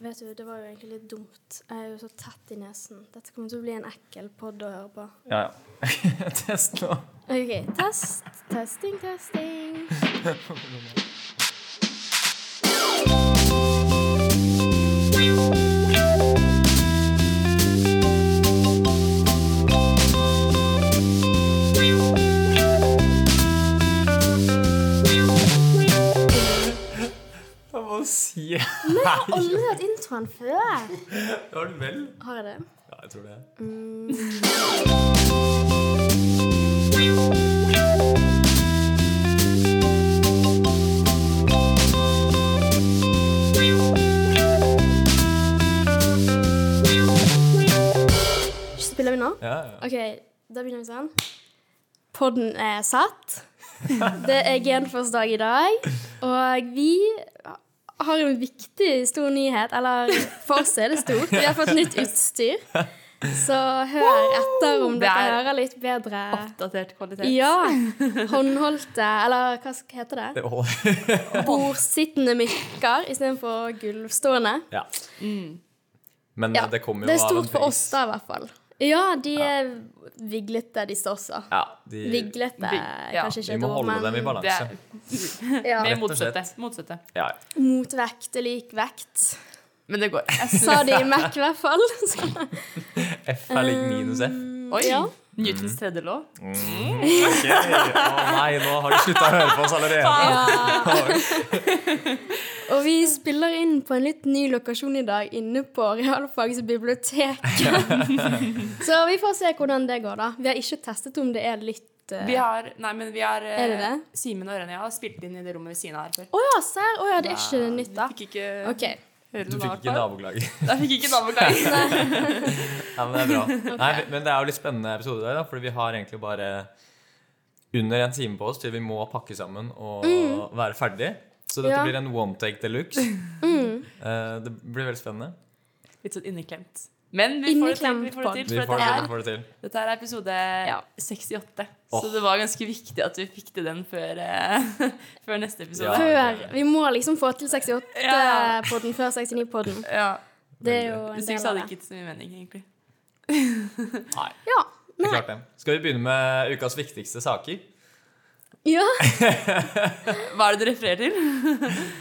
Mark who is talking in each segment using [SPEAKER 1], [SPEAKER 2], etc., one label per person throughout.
[SPEAKER 1] vet du, det var jo egentlig litt dumt. Jeg er jo så tett i nesen. Dette kommer til å bli en ekkel pod å høre på.
[SPEAKER 2] Ja, ja. Test nå.
[SPEAKER 1] OK, test. Testing, testing.
[SPEAKER 2] Jeg må si
[SPEAKER 1] Men jeg har aldri hatt introen før.
[SPEAKER 2] Har du vel?
[SPEAKER 1] Har jeg det? Mm.
[SPEAKER 2] Ja, jeg tror det.
[SPEAKER 1] Spiller vi nå?
[SPEAKER 2] Ja, ja.
[SPEAKER 1] OK, da begynner vi sånn. Podden er satt. Det er Genfors dag i dag, og vi har en viktig, stor nyhet. Eller for oss er det stort. Vi har fått nytt utstyr. Så hør etter om
[SPEAKER 3] Det
[SPEAKER 1] dere
[SPEAKER 3] er-
[SPEAKER 1] hører litt bedre.
[SPEAKER 3] Oppdatert kvalitet.
[SPEAKER 1] Ja. Håndholdte, eller hva sk- heter det?
[SPEAKER 2] Det holder.
[SPEAKER 1] Bordsittende mikker istedenfor gulvstående.
[SPEAKER 2] Ja. Men
[SPEAKER 1] Mm. Ja,
[SPEAKER 2] eh, det kommer jo
[SPEAKER 1] Det er
[SPEAKER 2] av
[SPEAKER 1] stort
[SPEAKER 2] en
[SPEAKER 1] for
[SPEAKER 2] pris.
[SPEAKER 1] oss, da, i hvert fall. Ja, de er viglete, disse også.
[SPEAKER 2] Ja, de,
[SPEAKER 1] Viglete
[SPEAKER 3] Vig- ja.
[SPEAKER 1] kanskje ikke
[SPEAKER 2] vi
[SPEAKER 1] et
[SPEAKER 2] må
[SPEAKER 1] ord,
[SPEAKER 2] holde
[SPEAKER 1] men
[SPEAKER 2] dem i
[SPEAKER 3] Det
[SPEAKER 2] balanse.
[SPEAKER 3] er
[SPEAKER 1] ja.
[SPEAKER 3] med
[SPEAKER 2] Rett og slett.
[SPEAKER 3] motstøtte. motstøtte.
[SPEAKER 2] Ja, ja.
[SPEAKER 1] motvekt er lik vekt,
[SPEAKER 3] Men det går.
[SPEAKER 1] sa de i Mac i hvert fall. Så,
[SPEAKER 2] F er
[SPEAKER 1] Mm.
[SPEAKER 2] lik minus F.
[SPEAKER 3] Oi!
[SPEAKER 1] Ja.
[SPEAKER 2] Mm.
[SPEAKER 3] Newtons tredje lov.
[SPEAKER 2] Ok. Å nei, nå har de slutta å høre på oss allerede.
[SPEAKER 1] ja. Og vi spiller inn på en litt ny lokasjon i dag, inne på realfagsbiblioteket. Så vi får se hvordan det går, da. Vi har ikke testet om det er litt eh,
[SPEAKER 3] Vi har Nei, men vi har eh,
[SPEAKER 1] Er det det?
[SPEAKER 3] Simen og Ørjan og jeg har spilt inn i det rommet ved siden av her før.
[SPEAKER 1] Å ja, serr? Å ja, det er ikke nytt, da.
[SPEAKER 3] Vi fikk ikke
[SPEAKER 1] OK.
[SPEAKER 3] høre
[SPEAKER 2] Du
[SPEAKER 3] noe
[SPEAKER 2] fikk ikke
[SPEAKER 3] av det.
[SPEAKER 2] naboklager.
[SPEAKER 3] Da fikk ikke naboklager.
[SPEAKER 2] Ja, men det er bra. Nei, men det er jo litt spennende episode i dag, da, fordi vi har egentlig bare under en time på oss til vi må pakke sammen og være ferdig. Så dette
[SPEAKER 1] Mm. Ja.
[SPEAKER 2] blir en one take de luxe.
[SPEAKER 1] Mm.
[SPEAKER 2] det blir veldig spennende.
[SPEAKER 3] Litt sånn inneklemt. Men vi får det til. Vi
[SPEAKER 1] Inneklemt
[SPEAKER 3] får det
[SPEAKER 2] Vi
[SPEAKER 3] til for
[SPEAKER 2] får, det-
[SPEAKER 3] dette
[SPEAKER 2] vi
[SPEAKER 3] er,
[SPEAKER 2] får det til.
[SPEAKER 3] dette er episode 68. Så
[SPEAKER 2] Åh.
[SPEAKER 3] det var ganske viktig at vi fikk til den før, eh, før neste episode.
[SPEAKER 2] Ja.
[SPEAKER 1] Før Vi må liksom få til 68-podden før 69-podden.
[SPEAKER 3] Ja.
[SPEAKER 1] Det er jo en
[SPEAKER 3] Hvis ikke
[SPEAKER 1] del
[SPEAKER 3] så
[SPEAKER 1] av
[SPEAKER 3] hadde det
[SPEAKER 1] det.
[SPEAKER 3] ikke så mye mening, egentlig.
[SPEAKER 2] Nei,
[SPEAKER 1] Ja.
[SPEAKER 2] det er klart det. Skal vi begynne med ukas viktigste saker?
[SPEAKER 1] ja.
[SPEAKER 3] Hva er det du refererer til?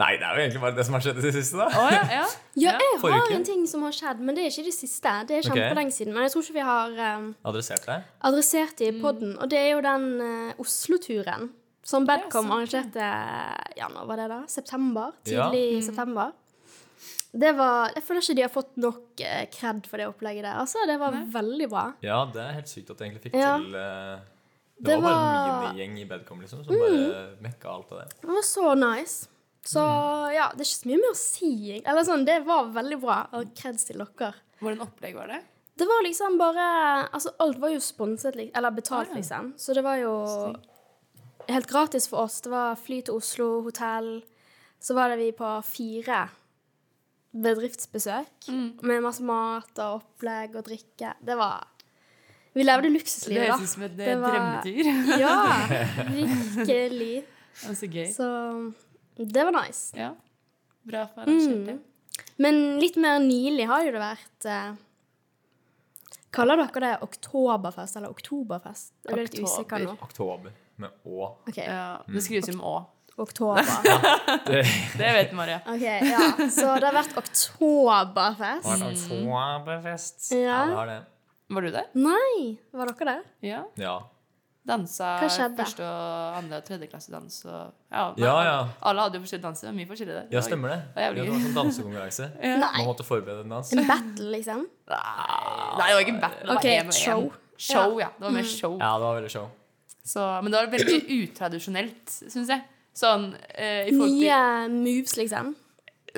[SPEAKER 2] Nei, det er jo egentlig bare det som har skjedd i det siste, da.
[SPEAKER 3] Å ja, ja.
[SPEAKER 1] Ja,
[SPEAKER 3] Ja.
[SPEAKER 1] jeg
[SPEAKER 2] Forrige
[SPEAKER 1] har
[SPEAKER 2] uke.
[SPEAKER 1] en ting som har skjedd, men det er ikke det siste. Det er
[SPEAKER 2] Ok.
[SPEAKER 1] kjempelenge siden. Men jeg tror ikke vi har um,
[SPEAKER 2] Adressert deg.
[SPEAKER 1] adressert det i podden. Og det er jo den eh, Oslo-turen som Bedcom
[SPEAKER 3] sant,
[SPEAKER 1] arrangerte Ja, nå var det da? September?
[SPEAKER 2] Ja.
[SPEAKER 1] Tidlig i september. Det var, jeg føler ikke de har fått nok eh, kred for det opplegget der. Altså, det var veldig bra.
[SPEAKER 2] Ja, det er helt sykt at du egentlig fikk
[SPEAKER 1] Ja.
[SPEAKER 2] til eh, det,
[SPEAKER 1] Det
[SPEAKER 2] var bare
[SPEAKER 1] var-
[SPEAKER 2] en minigjeng i Bedcom liksom, som bare mekka alt det der.
[SPEAKER 1] Det var så nice. Så
[SPEAKER 2] Mm.
[SPEAKER 1] ja, det er ikke så mye mer å si. egentlig. Eller sånn, det var veldig bra.
[SPEAKER 2] Mm.
[SPEAKER 1] Og kreds til dere.
[SPEAKER 3] Hvordan opplegg var det?
[SPEAKER 1] Det var liksom bare Altså, alt var jo sponset, lik- eller betalt,
[SPEAKER 3] Ah, ja.
[SPEAKER 1] liksom. Så det var jo helt gratis for oss. Det var fly til Oslo, hotell. Så var det vi på fire bedriftsbesøk
[SPEAKER 3] Mm.
[SPEAKER 1] med masse mat og opplegg og drikke. Det var Vi levde
[SPEAKER 3] Det
[SPEAKER 1] luksuslivet, da.
[SPEAKER 3] høres ut som et
[SPEAKER 1] Det
[SPEAKER 3] eh,
[SPEAKER 1] var-
[SPEAKER 3] drømmedyr.
[SPEAKER 1] Ja, virkelig.
[SPEAKER 3] Ja, Så gøy.
[SPEAKER 1] Så det var nice.
[SPEAKER 3] Ja. Bra
[SPEAKER 1] Mm.
[SPEAKER 3] for arrangert, ja.
[SPEAKER 1] Men litt mer nylig har jo det vært eh, Kaller dere det oktoberfest eller oktoberfest? Jeg ble litt
[SPEAKER 3] Oktober.
[SPEAKER 1] usikker nå.
[SPEAKER 2] Oktober med Å.
[SPEAKER 1] Ok,
[SPEAKER 3] Ja.
[SPEAKER 2] Mm.
[SPEAKER 3] Det skrives jo med Å.
[SPEAKER 1] oktober.
[SPEAKER 2] Det
[SPEAKER 3] Det vet Maria.
[SPEAKER 1] Ok, ja. Så det har vært oktoberfest.
[SPEAKER 2] var oktoberfest.
[SPEAKER 1] Ja.
[SPEAKER 2] Ja, det har det.
[SPEAKER 3] Var du der?
[SPEAKER 1] Nei, var dere der?
[SPEAKER 3] Ja.
[SPEAKER 2] Ja.
[SPEAKER 3] Dansa
[SPEAKER 1] Hva skjedde?
[SPEAKER 3] første og andre og tredjeklassedans og ja,
[SPEAKER 2] ja, ja.
[SPEAKER 3] Alle hadde jo forskjellige danser. Det var Mye forskjellig der.
[SPEAKER 2] Ja, stemmer det.
[SPEAKER 3] Det
[SPEAKER 2] Ja,
[SPEAKER 3] er
[SPEAKER 2] det
[SPEAKER 3] jævlig
[SPEAKER 2] var sånn dansekonkurranse. Man
[SPEAKER 1] Nei.
[SPEAKER 2] måtte forberede en dans.
[SPEAKER 1] En battle, liksom?
[SPEAKER 3] Nei, det var ikke battle. det var
[SPEAKER 1] Ok,
[SPEAKER 3] en og en.
[SPEAKER 1] show. Mm.
[SPEAKER 3] Show, ja. Det var mer show.
[SPEAKER 2] Ja, det var veldig show.
[SPEAKER 3] Så, men det var veldig utradisjonelt, syns jeg. Sånn eh, i forhold til
[SPEAKER 1] Nye moves, liksom?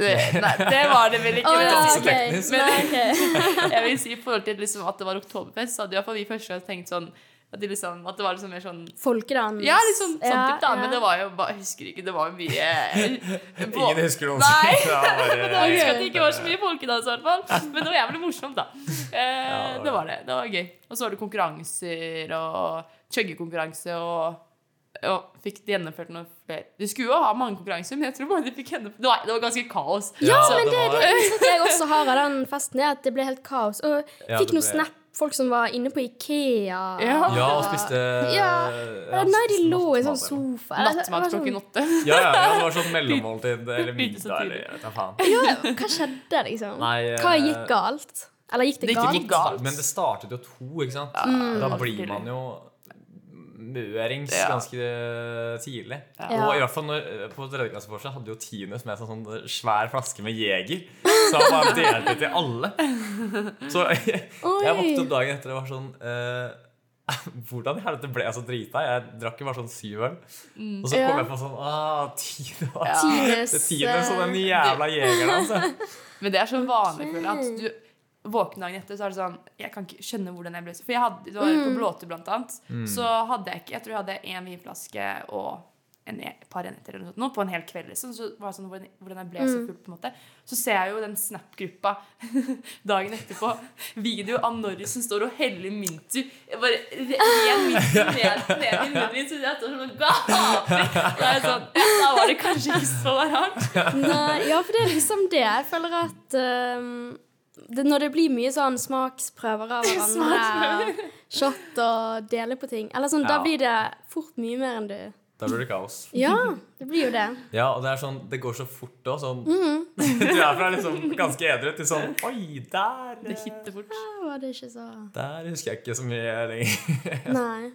[SPEAKER 3] Nei, det var det vel ikke.
[SPEAKER 1] Å
[SPEAKER 3] men
[SPEAKER 1] ja,
[SPEAKER 3] jeg synes-
[SPEAKER 1] OK.
[SPEAKER 2] teknisk.
[SPEAKER 1] Nei, ok.
[SPEAKER 3] Jeg vil si i forhold til liksom, at det var oktoberfest, så hadde i hvert fall vi første gang tenkt sånn at, de liksom, at det var liksom mer sånn
[SPEAKER 1] Folkedans.
[SPEAKER 3] Ja, liksom sånn
[SPEAKER 1] Ja,
[SPEAKER 3] typ, da. Men
[SPEAKER 1] ja.
[SPEAKER 3] det var jo bare, Jeg husker ikke, det var jo mye
[SPEAKER 2] Ingen husker noen
[SPEAKER 3] Nei.
[SPEAKER 2] Det var bare-
[SPEAKER 3] Jeg husker at det ikke var så mye folkedans, i hvert fall. Men det var jævlig morsomt, da. Eh, det var det. Det var gøy. Og så var det konkurranser og chuggekonkurranse og og fikk gjennomført noen flere. De skulle jo ha mange konkurranser, men jeg tror bare de fikk gjennomført Nei, det var ganske kaos.
[SPEAKER 1] Ja,
[SPEAKER 2] Ja,
[SPEAKER 1] men
[SPEAKER 2] det
[SPEAKER 1] det er
[SPEAKER 2] var-
[SPEAKER 1] det inntrykket jeg også har av den festen, er at det ble helt kaos. Og
[SPEAKER 2] Ja,
[SPEAKER 1] fikk
[SPEAKER 2] det
[SPEAKER 1] noen
[SPEAKER 2] ble-
[SPEAKER 1] snap folk som var inne på Ikea.
[SPEAKER 3] Ja.
[SPEAKER 2] Ja, og spiste
[SPEAKER 1] Ja.
[SPEAKER 2] ja,
[SPEAKER 1] Nei, de
[SPEAKER 2] spiste
[SPEAKER 1] lå i en sånn
[SPEAKER 2] nattmat eller noe.
[SPEAKER 1] sofa. Eller, det var
[SPEAKER 3] Nattmat
[SPEAKER 1] sånn-
[SPEAKER 3] klokken åtte.
[SPEAKER 2] Ja, ja, ja, det var sånn mellommåltid eller
[SPEAKER 3] Begynte så
[SPEAKER 2] middag eller
[SPEAKER 3] tidlig.
[SPEAKER 2] jeg vet da faen.
[SPEAKER 1] Ja, hva skjedde, liksom?
[SPEAKER 2] Nei, eh,
[SPEAKER 1] Hva gikk galt? Eller gikk det
[SPEAKER 2] Det gikk
[SPEAKER 1] galt?
[SPEAKER 2] jo galt, men det startet jo to, ikke sant?
[SPEAKER 1] Mm.
[SPEAKER 2] Da
[SPEAKER 3] det var
[SPEAKER 2] blir
[SPEAKER 3] tidlig.
[SPEAKER 2] man jo mørings
[SPEAKER 3] Ja.
[SPEAKER 2] ganske tidlig.
[SPEAKER 1] Ja.
[SPEAKER 2] Og i hvert fall når, på tredjeklasseforset hadde jo Tines med seg sånn svær flaske med Jeger. Så han bare delte til alle. Så jeg, jeg våknet opp dagen etter og var sånn eh, Hvordan i helvete ble jeg så drita? Jeg drakk jo bare sånn syv øl. Og så kom
[SPEAKER 1] Mm. Ja.
[SPEAKER 2] jeg på sånn ah, Tine,
[SPEAKER 3] Ja.
[SPEAKER 1] Tines,
[SPEAKER 2] Tines og den
[SPEAKER 1] eh,
[SPEAKER 2] jævla jegeren, altså.
[SPEAKER 3] Men det er sånn vanlig, føler
[SPEAKER 1] Ok.
[SPEAKER 3] jeg. At du våkner dagen etter, så er det sånn Jeg kan ikke skjønne hvordan jeg ble så For jeg hadde, det var på Blåtur, blant annet. Så hadde jeg ikke Jeg tror jeg hadde én vinflaske og en, et par enheter eller noe sånt nå, på en hel kveld. Liksom. Så var det sånn hvordan, hvordan jeg ble så full, på en måte. Så ser jeg jo den Snap-gruppa dagen etterpå. Video av Norris som står og heller mint i Jeg Bare ren mint i ned ned i munnen min. Så jeg står sånn og gaper. Og jeg er sånn ja, Da var det kanskje ikke så rart.
[SPEAKER 1] Nei, ja, for det er liksom det. Jeg føler at ehm, det, når det blir mye sånn smaksprøver av hverandre, shot og dele på ting Eller sånn, Da
[SPEAKER 2] Ja.
[SPEAKER 1] blir det fort mye mer enn du
[SPEAKER 2] Da blir det kaos.
[SPEAKER 1] Ja, det blir jo det.
[SPEAKER 2] Ja, og det er sånn, det går så fort òg. Sånn,
[SPEAKER 1] Mhm.
[SPEAKER 2] du er fra liksom ganske edru til sånn Oi, der
[SPEAKER 3] Det
[SPEAKER 2] eh,
[SPEAKER 3] hitter fort.
[SPEAKER 1] Da var det ikke så
[SPEAKER 2] Der husker jeg ikke så mye lenger.
[SPEAKER 1] Nei.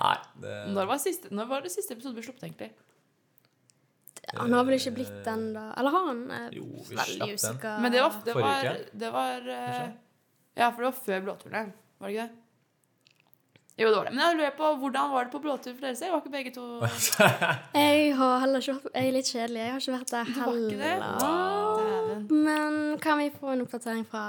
[SPEAKER 2] Nei, det,
[SPEAKER 3] Når var, siste, når var det siste episode vi slapp, egentlig?
[SPEAKER 1] Han har vel ikke blitt den, da? Eller har han? Jeg er
[SPEAKER 2] Eh, Jo, vi
[SPEAKER 1] veldig
[SPEAKER 2] slapp den.
[SPEAKER 1] usikker.
[SPEAKER 3] Men det var, det
[SPEAKER 2] Forrige
[SPEAKER 3] var,
[SPEAKER 2] uke?
[SPEAKER 3] det var eh,
[SPEAKER 2] Kanskje?
[SPEAKER 3] Ja, for det var før blåturen, var det ikke det? Jo, det var det. Men jeg lurer på hvordan var det på blåtur for deres del? Var ikke begge to
[SPEAKER 1] Jeg har heller ikke vært Jeg er litt kjedelig. Jeg har ikke vært der
[SPEAKER 3] var ikke det?
[SPEAKER 1] heller.
[SPEAKER 3] Dæven.
[SPEAKER 1] Men kan vi få en oppdatering fra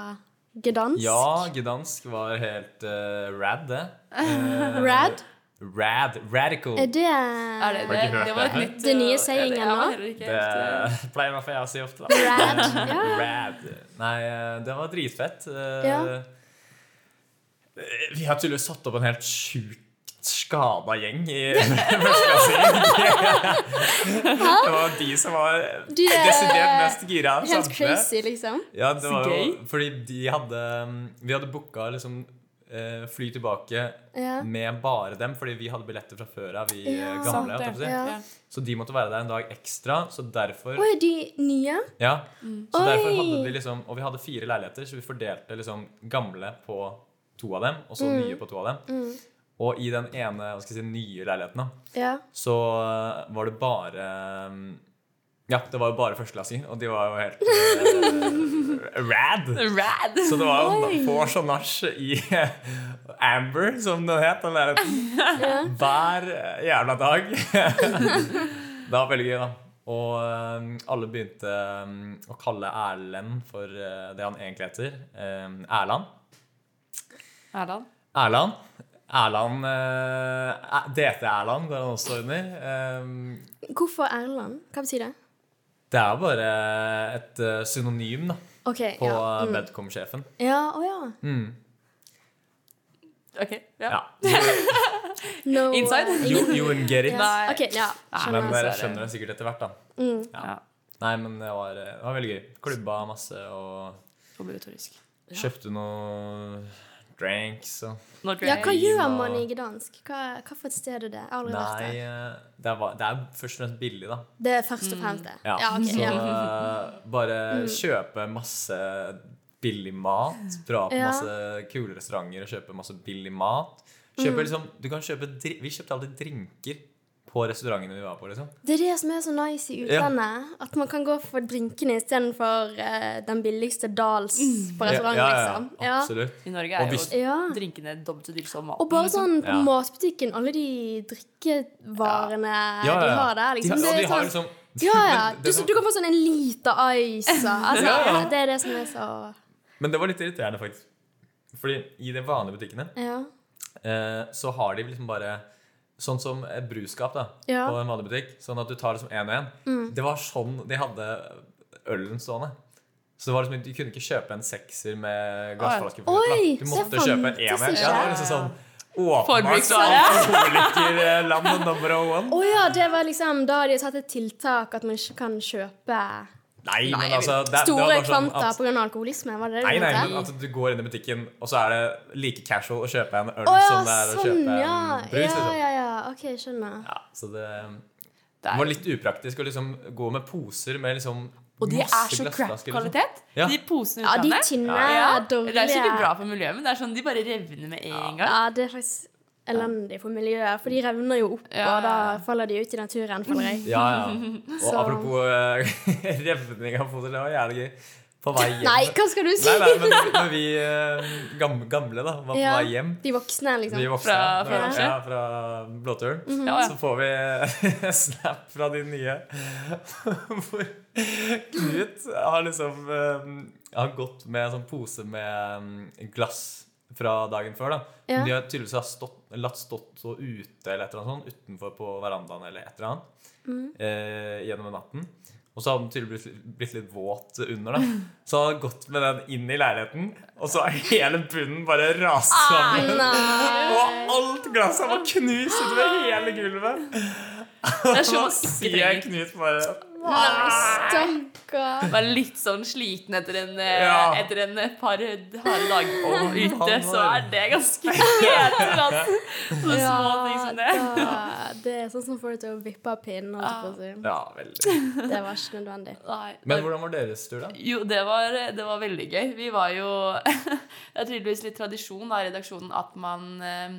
[SPEAKER 1] Gdansk?
[SPEAKER 2] Ja, Gdansk var helt eh, rad, det. Eh,
[SPEAKER 1] Rad?
[SPEAKER 2] Rad, Radical.
[SPEAKER 1] Er det
[SPEAKER 3] Er det,
[SPEAKER 2] Har
[SPEAKER 3] det,
[SPEAKER 2] ikke hørt
[SPEAKER 3] det var
[SPEAKER 2] det
[SPEAKER 3] et
[SPEAKER 2] her.
[SPEAKER 3] nytt
[SPEAKER 1] Det nye
[SPEAKER 3] eh,
[SPEAKER 1] sayingen
[SPEAKER 3] jeg var
[SPEAKER 1] nå?
[SPEAKER 3] heller ikke
[SPEAKER 2] Det
[SPEAKER 3] helt, eh,
[SPEAKER 2] pleier i hvert fall jeg å si ofte. da.
[SPEAKER 1] Rad? Ja.
[SPEAKER 2] Rad. Nei, eh, det var dritfett. Eh,
[SPEAKER 1] Ja.
[SPEAKER 2] eh, Vi har tydeligvis satt opp en helt sjukt skada gjeng i førsteklassing. det var de som var
[SPEAKER 1] De er
[SPEAKER 2] desidert mest gira. av
[SPEAKER 1] Helt
[SPEAKER 2] samtlige.
[SPEAKER 1] crazy, liksom.
[SPEAKER 2] Ja, det
[SPEAKER 3] Så
[SPEAKER 2] var jo,
[SPEAKER 3] gøy.
[SPEAKER 2] fordi de hadde um, Vi hadde booka liksom eh, fly tilbake
[SPEAKER 1] Ja.
[SPEAKER 2] med bare dem, fordi vi hadde billetter fra før av, vi eh,
[SPEAKER 1] Ja.
[SPEAKER 2] gamle.
[SPEAKER 3] sant det.
[SPEAKER 2] holdt jeg på å si.
[SPEAKER 1] Ja.
[SPEAKER 3] Ja.
[SPEAKER 2] Så de måtte være der en dag ekstra, så derfor
[SPEAKER 1] Oi, de nye?
[SPEAKER 2] Ja. Så derfor
[SPEAKER 1] Oi.
[SPEAKER 2] hadde vi liksom Og vi hadde fire leiligheter, så vi fordelte liksom gamle på to av dem, og
[SPEAKER 1] Mm.
[SPEAKER 2] så nye på to av dem. Og i den ene hva skal jeg si, nye leiligheten da,
[SPEAKER 1] Ja.
[SPEAKER 2] så eh, var det bare um, Ja, det var jo bare førsteklassinger, og de var jo helt eh, rad.
[SPEAKER 3] Rad!
[SPEAKER 2] Så det var jo
[SPEAKER 1] Oi.
[SPEAKER 2] vors og nach i Amber, som den het, den leiligheten. Hver eh, jævla dag. det var veldig gøy, da. Og eh, alle begynte eh, å kalle Erlend for eh, det han egentlig heter. eh, Erland.
[SPEAKER 3] Erland?
[SPEAKER 2] Erland. Erland eh, DT-Erland går han også under. Eh,
[SPEAKER 1] Hvorfor Erland? Hva betyr det?
[SPEAKER 2] det er jo bare et eh, synonym da,
[SPEAKER 1] OK.
[SPEAKER 2] på
[SPEAKER 1] ja.
[SPEAKER 2] eh, Mm.
[SPEAKER 1] Mm.
[SPEAKER 2] Bedcom-sjefen.
[SPEAKER 1] Ja, å ja.
[SPEAKER 3] OK. Ja.
[SPEAKER 2] Ja.
[SPEAKER 1] No, eh,
[SPEAKER 3] Inside?
[SPEAKER 1] ingen-
[SPEAKER 2] You, you wouldn't get it.
[SPEAKER 1] Yes.
[SPEAKER 3] Nei. Ah.
[SPEAKER 1] OK, ja.
[SPEAKER 2] Men
[SPEAKER 1] Skjønner. Mm.
[SPEAKER 2] dere
[SPEAKER 3] det- dessverre.
[SPEAKER 2] skjønner det sikkert etter hvert, da.
[SPEAKER 3] ja.
[SPEAKER 2] Nei, men det var, det var veldig gøy. Klubba masse og
[SPEAKER 3] Obligatorisk.
[SPEAKER 2] kjøpte noe drinks og
[SPEAKER 3] Når
[SPEAKER 1] Ja, hva gjør
[SPEAKER 2] og-
[SPEAKER 1] man i Gdansk? Hva, hva for et sted er det? Jeg har aldri vært
[SPEAKER 2] Nei,
[SPEAKER 1] der.
[SPEAKER 2] eh, det er, ba- det er først og fremst billig, da.
[SPEAKER 1] Det er først og fremst det. Ja, ok.
[SPEAKER 2] Mm. Så
[SPEAKER 1] Ja. Mm.
[SPEAKER 2] eh, bare kjøpe masse billig mat. Dra på
[SPEAKER 1] Ja.
[SPEAKER 2] masse kule restauranter og kjøpe masse billig mat.
[SPEAKER 1] Mm.
[SPEAKER 2] Kjøpe, liksom, du kan kjøpe, dri- vi kjøpte alltid drinker på restaurantene vi var på. liksom.
[SPEAKER 1] Det er det som er så nice i
[SPEAKER 2] Ja.
[SPEAKER 1] utlandet. At man kan gå for drinkene istedenfor uh, den billigste Dals på
[SPEAKER 2] Ja,
[SPEAKER 1] restaurant,
[SPEAKER 2] ja,
[SPEAKER 1] liksom. Ja.
[SPEAKER 2] Absolutt.
[SPEAKER 3] I Norge
[SPEAKER 2] Og
[SPEAKER 3] er
[SPEAKER 2] hvis-
[SPEAKER 3] jo
[SPEAKER 1] Ja.
[SPEAKER 3] drinkene dobbelt så dyre som
[SPEAKER 1] Og
[SPEAKER 3] maten.
[SPEAKER 1] bare sånn på
[SPEAKER 2] Ja.
[SPEAKER 1] matbutikken, alle de drikkevarene
[SPEAKER 2] Ja, ja,
[SPEAKER 1] de
[SPEAKER 2] ja.
[SPEAKER 1] har der.
[SPEAKER 2] De,
[SPEAKER 1] Liksom.
[SPEAKER 2] har-
[SPEAKER 1] Det
[SPEAKER 2] og
[SPEAKER 1] er
[SPEAKER 2] de har
[SPEAKER 1] sånn-
[SPEAKER 2] liksom
[SPEAKER 1] Ja, ja.
[SPEAKER 2] Men
[SPEAKER 1] Du,
[SPEAKER 2] det som-
[SPEAKER 1] du kan få sånn en liter ice. og- Altså,
[SPEAKER 2] Ja, ja.
[SPEAKER 1] Det er det som er så
[SPEAKER 2] Men det var litt irriterende, faktisk. Fordi i de vanlige butikkene
[SPEAKER 1] Ja.
[SPEAKER 2] eh, så har de liksom bare Sånn som et brusskap da,
[SPEAKER 1] Ja. Mm.
[SPEAKER 2] på en vanlig butikk. Sånn at du tar liksom én og én. Det var sånn de hadde ølen stående. Så det var liksom, du kunne ikke kjøpe en sekser med glassflaske. for
[SPEAKER 1] Oi,
[SPEAKER 2] eksempel, da.
[SPEAKER 1] så
[SPEAKER 2] du måtte
[SPEAKER 1] det
[SPEAKER 2] kjøpe en
[SPEAKER 1] fantes
[SPEAKER 2] ener.
[SPEAKER 1] ikke.
[SPEAKER 2] Ja, det var liksom sånn Åpenbart sånn så
[SPEAKER 3] Forbruksvare.
[SPEAKER 2] er alkoholikerlandet number one.
[SPEAKER 1] Å ja, det var liksom da de satte et tiltak at man ikke kan kjøpe
[SPEAKER 2] Nei, men
[SPEAKER 3] Nei,
[SPEAKER 2] altså det, det var
[SPEAKER 1] store
[SPEAKER 2] bare sånn
[SPEAKER 1] kvanta
[SPEAKER 2] at-
[SPEAKER 1] på grunn av alkoholisme. Var det det
[SPEAKER 2] Nei, nei, men
[SPEAKER 1] mente?
[SPEAKER 2] at liksom du går inn i butikken, og så er det like casual å kjøpe en øl
[SPEAKER 1] Å ja,
[SPEAKER 2] som det er å
[SPEAKER 1] sånn,
[SPEAKER 2] kjøpe
[SPEAKER 1] ja.
[SPEAKER 2] en brus.
[SPEAKER 1] Ja,
[SPEAKER 2] Liksom.
[SPEAKER 1] ja, ja. OK, skjønner.
[SPEAKER 2] Ja, så det,
[SPEAKER 3] Det
[SPEAKER 2] det
[SPEAKER 3] er-
[SPEAKER 2] var litt upraktisk å liksom gå med poser med liksom
[SPEAKER 3] Og de
[SPEAKER 2] masse
[SPEAKER 3] er så
[SPEAKER 2] glassflasker, liksom.
[SPEAKER 3] crap-kvalitet.
[SPEAKER 2] Ja.
[SPEAKER 3] De posene
[SPEAKER 1] Ja, de
[SPEAKER 3] utlandet.
[SPEAKER 1] tynne,
[SPEAKER 3] Ja,
[SPEAKER 1] dårlige
[SPEAKER 3] Det er sikkert bra for miljøet, men det er sånn de bare revner med en gang.
[SPEAKER 1] Ja, det er faktisk elendig for miljøet, for de revner jo opp,
[SPEAKER 3] Ja,
[SPEAKER 1] og da
[SPEAKER 3] ja, ja.
[SPEAKER 1] faller de ut i naturen, føler jeg.
[SPEAKER 2] Ja, ja. Og
[SPEAKER 1] Så-
[SPEAKER 2] apropos eh, revning av poser, det var jævlig gøy. På vei hjem
[SPEAKER 1] Nei, hva skal du si?
[SPEAKER 2] Nei, nei, men men vi eh, gamle, gamle da, var på
[SPEAKER 1] Ja,
[SPEAKER 2] vei hjem.
[SPEAKER 1] De voksne, liksom.
[SPEAKER 2] Vi voksne
[SPEAKER 3] Fra-
[SPEAKER 2] da,
[SPEAKER 3] fra
[SPEAKER 2] ja,
[SPEAKER 3] Norge?
[SPEAKER 2] fra Blåturen.
[SPEAKER 1] Mhm.
[SPEAKER 3] Ja, ja.
[SPEAKER 2] Så får vi snap fra de nye hvor Knut har liksom eh, har gått med en sånn pose med eh, glass fra dagen før. da.
[SPEAKER 1] Ja.
[SPEAKER 2] De har tydeligvis har stått, latt stått så ute eller et eller annet sånt, utenfor på verandaen eller et eller annet
[SPEAKER 1] Mhm.
[SPEAKER 2] eh, gjennom natten. Og så hadde han tydeligvis blitt, blitt litt våt under, da. Så han hadde gått med den inn i leiligheten, og så har hele bunnen bare rast sammen.
[SPEAKER 1] Nei.
[SPEAKER 2] Og alt glasset var knust utover hele gulvet.
[SPEAKER 3] Det
[SPEAKER 2] Og
[SPEAKER 3] er sånn
[SPEAKER 2] så
[SPEAKER 3] man ikke
[SPEAKER 2] sier jeg
[SPEAKER 3] trenger.
[SPEAKER 2] Knut bare
[SPEAKER 1] Stakkar.
[SPEAKER 3] Var litt sånn sliten etter en, eh,
[SPEAKER 2] Ja.
[SPEAKER 3] etter en eh, par harde dager
[SPEAKER 2] Å,
[SPEAKER 3] ute,
[SPEAKER 2] han
[SPEAKER 3] så
[SPEAKER 2] var-
[SPEAKER 3] er det ganske kjedelig. Altså. Sånne små ting
[SPEAKER 1] Ja,
[SPEAKER 3] som det.
[SPEAKER 1] da, det er sånn som får deg til å vippe av pinnen. holdt jeg på
[SPEAKER 2] Ja, veldig.
[SPEAKER 1] å si. Det var ikke nødvendig.
[SPEAKER 3] Nei,
[SPEAKER 2] Men hvordan var deres tur, da?
[SPEAKER 3] Jo, det var, det var veldig gøy. Vi var jo Det er tydeligvis litt tradisjon da i redaksjonen at man eh,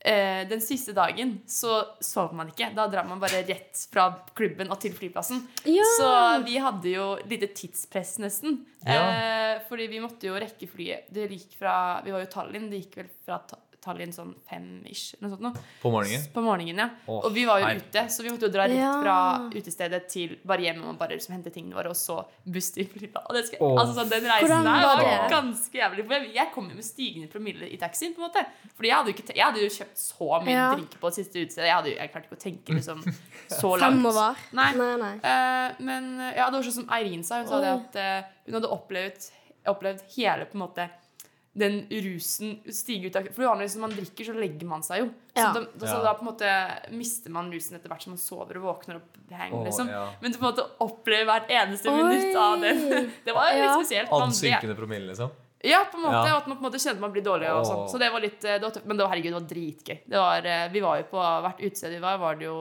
[SPEAKER 3] eh, Den siste dagen så sov man ikke. Da drar man bare rett fra klubben og til flyplassen.
[SPEAKER 1] Ja.
[SPEAKER 3] Så vi hadde jo lite tidspress, nesten. Eh, fordi vi måtte jo rekke flyet. Det gikk fra Vi var jo i Tallinn. Det gikk vel fra Ta- Tallinn sånn fem-ish, eller noe sånt. Noe.
[SPEAKER 2] På morgenen?
[SPEAKER 3] På morgenen, ja.
[SPEAKER 2] Åh,
[SPEAKER 3] og vi var jo
[SPEAKER 2] nei.
[SPEAKER 3] ute, så vi måtte jo dra rett
[SPEAKER 1] Ja.
[SPEAKER 3] fra utestedet til bare hjem og bare liksom hente tingene våre, og så buss til flyplassen. Og det skal,
[SPEAKER 2] Åh.
[SPEAKER 3] altså, sånn, den reisen
[SPEAKER 1] Hvordan
[SPEAKER 3] der
[SPEAKER 1] var
[SPEAKER 3] var
[SPEAKER 1] det?
[SPEAKER 3] ganske jævlig. For jeg, jeg kom jo med stigende promille i taxien, på en måte. Fordi jeg hadde jo, ikke, te- jeg hadde jo kjøpt så mye
[SPEAKER 1] Ja.
[SPEAKER 3] drinker på det siste utestedet. Jeg, hadde, jo- jeg klarte ikke å tenke liksom så langt.
[SPEAKER 1] Fremover.
[SPEAKER 3] Nei.
[SPEAKER 1] Nei, nei.
[SPEAKER 3] Eh, men eh, ja, det var sånn som Eirin sa. Hun sa det
[SPEAKER 1] Oi.
[SPEAKER 3] at eh, hun hadde opplevd, opplevd hele på en måte den rusen stige ut av For vanligvis når man drikker, så legger man seg jo. Så,
[SPEAKER 1] Ja.
[SPEAKER 3] da, da, så
[SPEAKER 2] Ja.
[SPEAKER 3] da på en måte mister man rusen etter hvert som man sover og våkner opp. Hang,
[SPEAKER 2] Å,
[SPEAKER 3] liksom.
[SPEAKER 2] ja.
[SPEAKER 3] Men du på en måte opplever hvert eneste
[SPEAKER 1] Oi.
[SPEAKER 3] minutt av det. Det var jo litt
[SPEAKER 1] Ja.
[SPEAKER 3] spesielt. Man ble,
[SPEAKER 2] Ansynkende promille, liksom?
[SPEAKER 3] ja, på en måte.
[SPEAKER 2] Ja.
[SPEAKER 3] Og at man på en måte kjente man blir dårlig. Og sånn.
[SPEAKER 2] Åh.
[SPEAKER 3] Så det var litt eh, det var tøft. Men det var, herregud, det var dritgøy. Det var, eh, vi var jo på hvert utested vi var, var det jo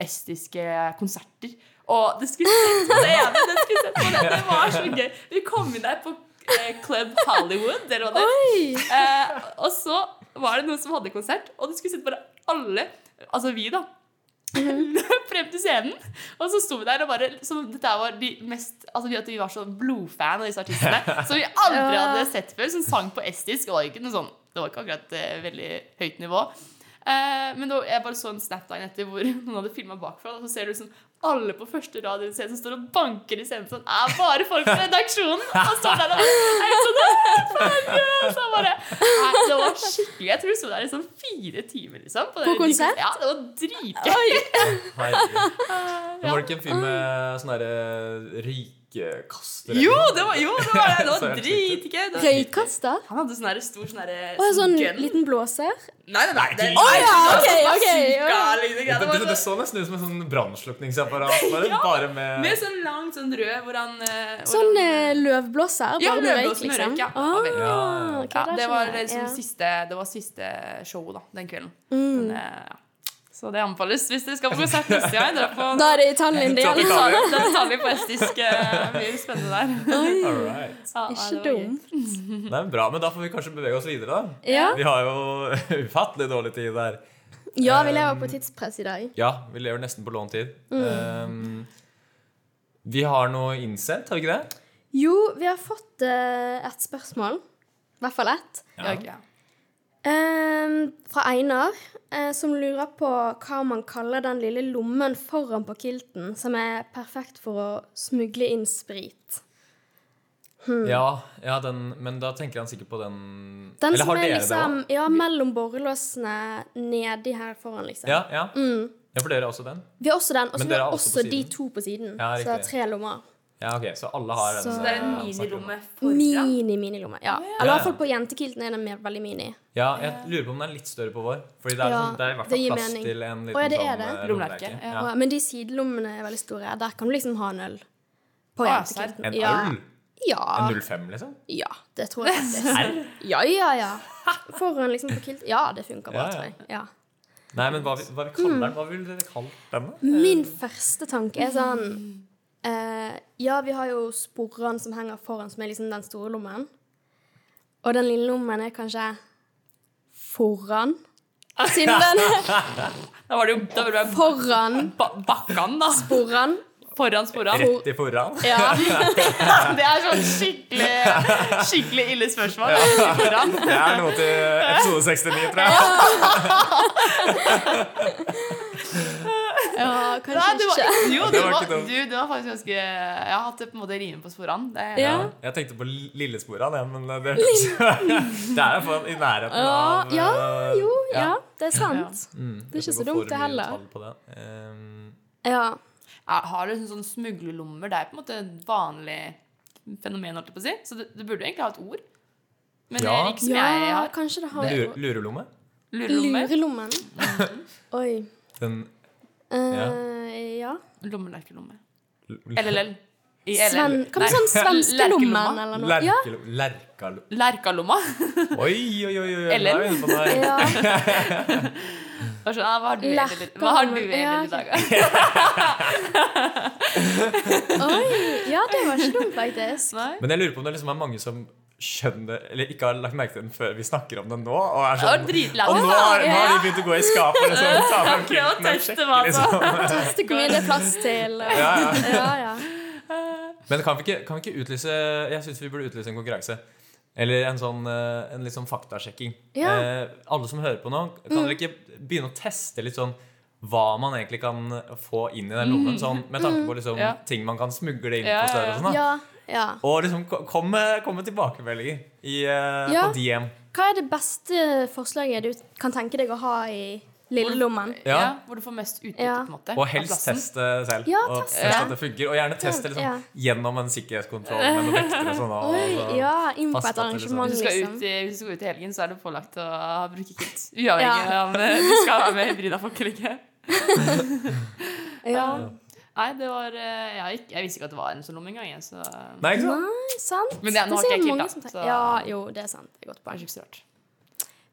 [SPEAKER 3] estiske konserter. Og det skulle sett på det ene! Det skulle sett på det. det var så gøy. Vi kom inn der på eh, Club Hollywood. Der var det.
[SPEAKER 1] Oi!
[SPEAKER 3] Eh, og så var det noen som hadde konsert, og det skulle sitte bare alle, altså vi da, løp frem til scenen. Og så sto vi der og bare som Dette her var de mest Altså vi, at vi var så blodfan av disse artistene som vi aldri
[SPEAKER 1] Ja.
[SPEAKER 3] hadde sett før, som sang på estisk. Og det var ikke noe sånn Det var ikke akkurat eh, veldig høyt nivå. Eh, men da, jeg bare så en snap dagen etter hvor noen hadde filma bakfra. Og så ser du sånn alle på første rad i en scene som står og banker i scenen. Sånn, er bare folk fra redaksjonen! Og står der og bare, «Jeg er så nervøs, jeg er nervøs!» Og bare, Nei, Det var skikkelig Jeg tror vi sto der i sånn fire timer, liksom.
[SPEAKER 1] På
[SPEAKER 3] den-
[SPEAKER 1] konsert?
[SPEAKER 3] Ja, det var dritgøy.
[SPEAKER 2] Herregud. Men
[SPEAKER 3] Ja.
[SPEAKER 2] var det ikke en fyr med sånn derre røykkaster?
[SPEAKER 3] Jo, det var, jo, det var det! Det var
[SPEAKER 2] Så helt
[SPEAKER 3] dritgøy. det var dritgøy.
[SPEAKER 1] Røykaster?
[SPEAKER 3] Han hadde sånn her stor sånn her
[SPEAKER 1] Og en sånn
[SPEAKER 3] gun.
[SPEAKER 1] liten blåser?
[SPEAKER 3] Nei, nei, nei. Det, sånn
[SPEAKER 2] Å,
[SPEAKER 3] nei,
[SPEAKER 1] ja, sånn
[SPEAKER 3] det var
[SPEAKER 1] ok, ok,
[SPEAKER 3] bazooka,
[SPEAKER 1] ja.
[SPEAKER 2] Det,
[SPEAKER 3] eller noe greier.
[SPEAKER 2] det,
[SPEAKER 3] Det var
[SPEAKER 2] det,
[SPEAKER 3] sånn-
[SPEAKER 2] så nesten ut som en sånn brannslukningsapparat, bare,
[SPEAKER 3] Ja.
[SPEAKER 2] bare med
[SPEAKER 3] Med sånn langt sånn rød hvor han eh, hvor
[SPEAKER 1] Sånn
[SPEAKER 3] han-
[SPEAKER 1] eh, løvblåser,
[SPEAKER 3] Ja,
[SPEAKER 1] bare med røyk,
[SPEAKER 3] løvblåser med
[SPEAKER 1] liksom?
[SPEAKER 3] røyk, ja.
[SPEAKER 1] Ah,
[SPEAKER 3] Ja, veldig.
[SPEAKER 2] Ja, ja.
[SPEAKER 1] ok,
[SPEAKER 3] ja,
[SPEAKER 1] da
[SPEAKER 3] det var
[SPEAKER 1] skjønner jeg,
[SPEAKER 3] liksom
[SPEAKER 1] ja.
[SPEAKER 3] siste Det var siste show da, den kvelden.
[SPEAKER 1] Mm.
[SPEAKER 3] Men, eh, ja. Så det anbefales hvis dere skal på konsert neste gang. Dra på
[SPEAKER 1] Da er det Italien det
[SPEAKER 2] Takk,
[SPEAKER 1] gjelder.
[SPEAKER 2] Italien.
[SPEAKER 3] Da tar vi på estisk. eh, Mye spennende der.
[SPEAKER 2] All right.
[SPEAKER 3] Ja, nei,
[SPEAKER 1] Ikke
[SPEAKER 3] det var gøy.
[SPEAKER 1] dum.
[SPEAKER 2] Nei, men bra, men da får vi kanskje bevege oss videre, da.
[SPEAKER 1] Ja.
[SPEAKER 2] Vi har jo ufattelig dårlig tid der.
[SPEAKER 1] ja, vi lever på tidspress i dag.
[SPEAKER 2] Ja, vi lever nesten på lånt tid.
[SPEAKER 1] Mm.
[SPEAKER 2] Um, vi har noe innsendt, har vi ikke det?
[SPEAKER 1] Jo, vi har fått eh, et spørsmål. I hvert fall ett.
[SPEAKER 3] Ja, ok, ja.
[SPEAKER 1] Ehm, fra Einar, eh, som lurer på hva man kaller den lille lommen foran på kilten, som er perfekt for å smugle inn sprit.
[SPEAKER 3] Mm.
[SPEAKER 2] Ja, ja den, men da tenker han sikkert på den
[SPEAKER 1] Den
[SPEAKER 2] Eller
[SPEAKER 1] som
[SPEAKER 2] har
[SPEAKER 1] er
[SPEAKER 2] dere
[SPEAKER 1] liksom,
[SPEAKER 2] det òg?
[SPEAKER 1] ja, mellom borrelåsene, nedi her foran, liksom.
[SPEAKER 2] Ja, ja. ja, for dere har også den?
[SPEAKER 1] Vi har også den, og så
[SPEAKER 2] Men
[SPEAKER 1] vi
[SPEAKER 2] dere
[SPEAKER 1] har
[SPEAKER 2] har
[SPEAKER 1] også
[SPEAKER 2] også på
[SPEAKER 1] de
[SPEAKER 2] siden.
[SPEAKER 1] to på siden.
[SPEAKER 2] Ja,
[SPEAKER 1] så det er
[SPEAKER 2] riktig.
[SPEAKER 1] tre lommer.
[SPEAKER 2] Ja, ok, Så alle har en
[SPEAKER 1] Så
[SPEAKER 3] Så det er en
[SPEAKER 2] eh,
[SPEAKER 3] minilomme foran.
[SPEAKER 1] Mini-minilomme. Ja.
[SPEAKER 3] Å, ja.
[SPEAKER 1] Eller i hvert fall på jentekilten er den mer veldig mini.
[SPEAKER 2] Ja, jeg lurer på om den er litt større på vår. Fordi det er,
[SPEAKER 1] Ja,
[SPEAKER 2] sånn, det er i hvert
[SPEAKER 1] det
[SPEAKER 2] fall
[SPEAKER 1] gir
[SPEAKER 2] plass
[SPEAKER 1] mening.
[SPEAKER 2] til en liten
[SPEAKER 1] Å, ja, det er
[SPEAKER 2] sånn
[SPEAKER 1] det.
[SPEAKER 2] eh,
[SPEAKER 3] Lommelerke,
[SPEAKER 2] lommelerke.
[SPEAKER 3] ja.
[SPEAKER 2] Ja.
[SPEAKER 1] Og- Men de sidelommene er veldig store. Der kan du liksom ha en øl. På
[SPEAKER 3] Å, ja,
[SPEAKER 1] jentekilten.
[SPEAKER 2] En
[SPEAKER 1] Ja.
[SPEAKER 2] øl?
[SPEAKER 1] Ja.
[SPEAKER 2] En 05, liksom?
[SPEAKER 1] ja, det tror jeg faktisk. Ja, ja, ja. Foran liksom på kilten. Ja, det funker bra,
[SPEAKER 2] Ja, ja.
[SPEAKER 1] tror jeg. Ja.
[SPEAKER 2] Nei, men hva, vi- hva vi
[SPEAKER 1] Mm.
[SPEAKER 2] kaller den? Hva ville dere kalt den? da?
[SPEAKER 1] Min første tanke er sånn eh, Ja, vi har jo sporene som henger foran, som er liksom den store lommen. Og den lille lommen er kanskje foran. Siden den er
[SPEAKER 3] Da var det jo da var det jo
[SPEAKER 1] foran
[SPEAKER 3] ba Bakkan, da.
[SPEAKER 1] foran.
[SPEAKER 3] Foran sporan.
[SPEAKER 2] Rett i foran?
[SPEAKER 1] Ja.
[SPEAKER 3] Det er sånn skikkelig skikkelig ille spørsmål. Foran.
[SPEAKER 2] Det er noe til episode 69, tror jeg.
[SPEAKER 1] ja,
[SPEAKER 3] Nei,
[SPEAKER 1] kanskje
[SPEAKER 3] det var,
[SPEAKER 1] ikke.
[SPEAKER 3] jo,
[SPEAKER 2] Det
[SPEAKER 3] det
[SPEAKER 2] var
[SPEAKER 3] var,
[SPEAKER 2] ikke dumt.
[SPEAKER 3] du, det var faktisk ganske Jeg har hatt det på en måte rime på sporan. Det,
[SPEAKER 1] Ja.
[SPEAKER 2] Jeg tenkte på li- lillesporene, ja, men eh, det Det er jo faen i nærheten
[SPEAKER 1] Ja,
[SPEAKER 2] av
[SPEAKER 1] ja,
[SPEAKER 2] eh,
[SPEAKER 1] jo, ja,
[SPEAKER 2] ja.
[SPEAKER 1] det er sant.
[SPEAKER 2] Mm,
[SPEAKER 1] Det er ikke
[SPEAKER 2] jeg
[SPEAKER 1] så
[SPEAKER 2] går
[SPEAKER 1] dumt,
[SPEAKER 2] for
[SPEAKER 1] det
[SPEAKER 2] mye
[SPEAKER 1] heller.
[SPEAKER 2] tall på det. Ehm,
[SPEAKER 1] Ja.
[SPEAKER 3] Jeg har liksom sånn smuglerlommer. Det er på en måte et vanlig fenomen, holdt jeg på å si. Så det, det burde jo egentlig ha et ord. Men det
[SPEAKER 2] Ja.
[SPEAKER 3] er ikke som
[SPEAKER 1] ja,
[SPEAKER 3] jeg har.
[SPEAKER 1] kanskje det har
[SPEAKER 2] lure- Lurelomme?
[SPEAKER 3] Lurelomme.
[SPEAKER 1] Lurelommen. Oi.
[SPEAKER 2] Den
[SPEAKER 1] Eh, ja.
[SPEAKER 3] Lommelerkelomme.
[SPEAKER 2] l-
[SPEAKER 3] LLL. I
[SPEAKER 1] Sven,
[SPEAKER 3] LL.
[SPEAKER 1] hva med
[SPEAKER 3] Nei.
[SPEAKER 1] sånn svenskelommen
[SPEAKER 3] Lerkelomma.
[SPEAKER 1] eller noe? Ja.
[SPEAKER 2] Lerkelo- Lerkalo...
[SPEAKER 3] Lerkalomma.
[SPEAKER 2] Oi, oi, oi! oi.
[SPEAKER 3] Eller-
[SPEAKER 2] nå er vi inne på noe her.
[SPEAKER 1] ja.
[SPEAKER 3] Hva er sånn, ah, hva har du i LL? Hva har du i LL i dag?
[SPEAKER 1] Oi, ja, det var ikke dumt, faktisk.
[SPEAKER 3] Nei?
[SPEAKER 2] Men jeg lurer på om det liksom er mange som skjønner Eller ikke har lagt merke til den før vi snakker om den nå. Og er
[SPEAKER 3] Det var
[SPEAKER 2] sånn
[SPEAKER 3] dritlættis.
[SPEAKER 2] Og nå har, nå har de begynt å gå i skapet og liksom, ta fram
[SPEAKER 3] Prøv å
[SPEAKER 2] kilten og
[SPEAKER 3] teste
[SPEAKER 2] sjekke,
[SPEAKER 3] hva
[SPEAKER 2] liksom.
[SPEAKER 1] Teste hvor mye det er plass til. og-
[SPEAKER 2] Ja, ja.
[SPEAKER 1] Ja, ja.
[SPEAKER 2] Men kan vi ikke, kan vi ikke utlyse Jeg syns vi burde utlyse en konkurranse. Eller en sånn eh, en litt sånn faktasjekking.
[SPEAKER 1] Ja. Mm.
[SPEAKER 2] Eh, alle som hører på nå, kan dere ikke begynne å teste litt sånn hva man egentlig kan få inn i den lommen? Sånn, med tanke på liksom,
[SPEAKER 3] Ja.
[SPEAKER 2] ting man kan smugle inn
[SPEAKER 3] Ja,
[SPEAKER 2] på steder
[SPEAKER 3] ja,
[SPEAKER 2] og
[SPEAKER 3] ja.
[SPEAKER 2] sånn. da.
[SPEAKER 1] Mm. ja, ja.
[SPEAKER 2] Og liksom ko- kom med, kom med tilbakemeldinger i, eh,
[SPEAKER 1] Ja.
[SPEAKER 2] på DM.
[SPEAKER 1] Hva er det beste forslaget du kan tenke deg å ha i lillelommen?
[SPEAKER 2] Ja.
[SPEAKER 3] Ja. hvor du får mest utbytte,
[SPEAKER 1] Ja.
[SPEAKER 3] på en måte.
[SPEAKER 2] Og
[SPEAKER 3] av
[SPEAKER 2] helst
[SPEAKER 3] plassen.
[SPEAKER 2] teste selv.
[SPEAKER 1] Ja,
[SPEAKER 2] og
[SPEAKER 1] teste.
[SPEAKER 2] test at det fungerer. Og gjerne test det liksom,
[SPEAKER 1] Ja.
[SPEAKER 2] gjennom en sikkerhetskontroll med noen vekter og sånn. Og,
[SPEAKER 1] Oi, ja, inn på et
[SPEAKER 2] Fast at det er
[SPEAKER 1] arrangement,
[SPEAKER 3] Hvis du, skal ut,
[SPEAKER 1] liksom.
[SPEAKER 3] i- hvis du skal ut i helgen, så er du pålagt å bruke kit. Uavhengig av om du skal være med hybrida folk eller ikke.
[SPEAKER 1] Ja.
[SPEAKER 3] Nei, det var eh, Jeg, gikk- jeg visste ikke at det var en sånn lomme engang. jeg, Så det
[SPEAKER 2] Nei, ikke sant?
[SPEAKER 1] Nei, sant.
[SPEAKER 3] Men det er- nå har
[SPEAKER 1] sikkert
[SPEAKER 3] ikke jeg
[SPEAKER 1] mange
[SPEAKER 3] kilt, da,
[SPEAKER 1] som tenker-
[SPEAKER 3] så-
[SPEAKER 1] Ja, jo, det er sant. Det er godt
[SPEAKER 3] er
[SPEAKER 1] poeng.
[SPEAKER 3] ikke så rart.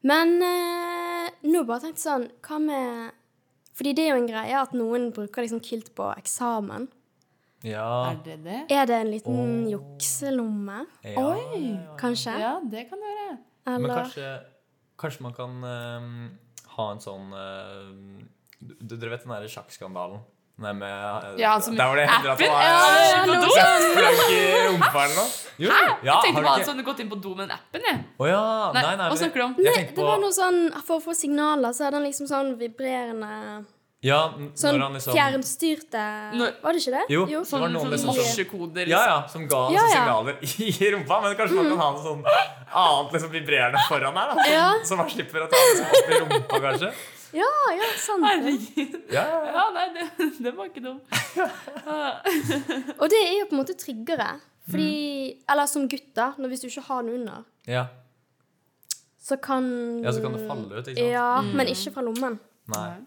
[SPEAKER 1] Men eh, nå bare tenkte jeg sånn, hva med Fordi det er jo en greie at noen bruker liksom kilt på eksamen.
[SPEAKER 2] Ja.
[SPEAKER 3] Er det det?
[SPEAKER 1] Er det en liten jukselomme,
[SPEAKER 2] ja.
[SPEAKER 1] kanskje?
[SPEAKER 3] Ja, det kan det være.
[SPEAKER 2] Men
[SPEAKER 1] Eller
[SPEAKER 2] kanskje, kanskje man kan ehm, ha en sånn ehm, du, du- Dere vet den derre sjakkskandalen? Nei, med, eh,
[SPEAKER 3] Ja, han som-
[SPEAKER 2] der var det hender at det
[SPEAKER 3] Appen?
[SPEAKER 2] var
[SPEAKER 3] Ja,
[SPEAKER 2] eh,
[SPEAKER 3] ja, ja,
[SPEAKER 2] kjøttsprank i rumpa eller noe. Jo, Hæ? Ja, har
[SPEAKER 3] jeg tenkte
[SPEAKER 2] du
[SPEAKER 3] på han
[SPEAKER 2] ikke-
[SPEAKER 3] som hadde gått inn på do med den appen, jeg.
[SPEAKER 2] Å ja. Nei,
[SPEAKER 3] Nei,
[SPEAKER 2] nei,
[SPEAKER 3] hva
[SPEAKER 2] men-
[SPEAKER 3] snakker du om?
[SPEAKER 2] Jeg
[SPEAKER 1] Nei,
[SPEAKER 2] tenkte
[SPEAKER 1] det
[SPEAKER 2] på
[SPEAKER 1] var noe sånn For å få signaler så hadde han liksom sånn vibrerende
[SPEAKER 2] ja, n-
[SPEAKER 1] Sånn
[SPEAKER 2] når han liksom,
[SPEAKER 1] fjernstyrte
[SPEAKER 3] Når-
[SPEAKER 1] Var det ikke det?
[SPEAKER 2] Jo, det var
[SPEAKER 3] Sånn,
[SPEAKER 2] noen
[SPEAKER 3] sånn
[SPEAKER 2] liksom som
[SPEAKER 3] morsekoder.
[SPEAKER 2] Ja, ja, som ga han
[SPEAKER 1] Ja,
[SPEAKER 2] sånne
[SPEAKER 1] ja.
[SPEAKER 2] signaler i rumpa. Men kanskje man kan ha noe sånn annet liksom vibrerende foran her, da. Som,
[SPEAKER 1] Ja.
[SPEAKER 2] som man slipper å ta liksom, opp i rumpa, kanskje.
[SPEAKER 1] Ja, Ah, ja, sant.
[SPEAKER 3] liksom. Herregud.
[SPEAKER 2] Ja, ja, ja.
[SPEAKER 3] Ja, nei, det, det var ikke Ah. dum.
[SPEAKER 1] Og det er jo på en måte tryggere.
[SPEAKER 2] Mm.
[SPEAKER 1] Fordi, Eller som gutt, da. når- Hvis du ikke har den under,
[SPEAKER 2] ja.
[SPEAKER 1] så kan
[SPEAKER 2] ja, så kan det falle ut, ikke sant.
[SPEAKER 1] Ja,
[SPEAKER 3] Mm.
[SPEAKER 1] men ikke fra lommen.
[SPEAKER 2] Nei,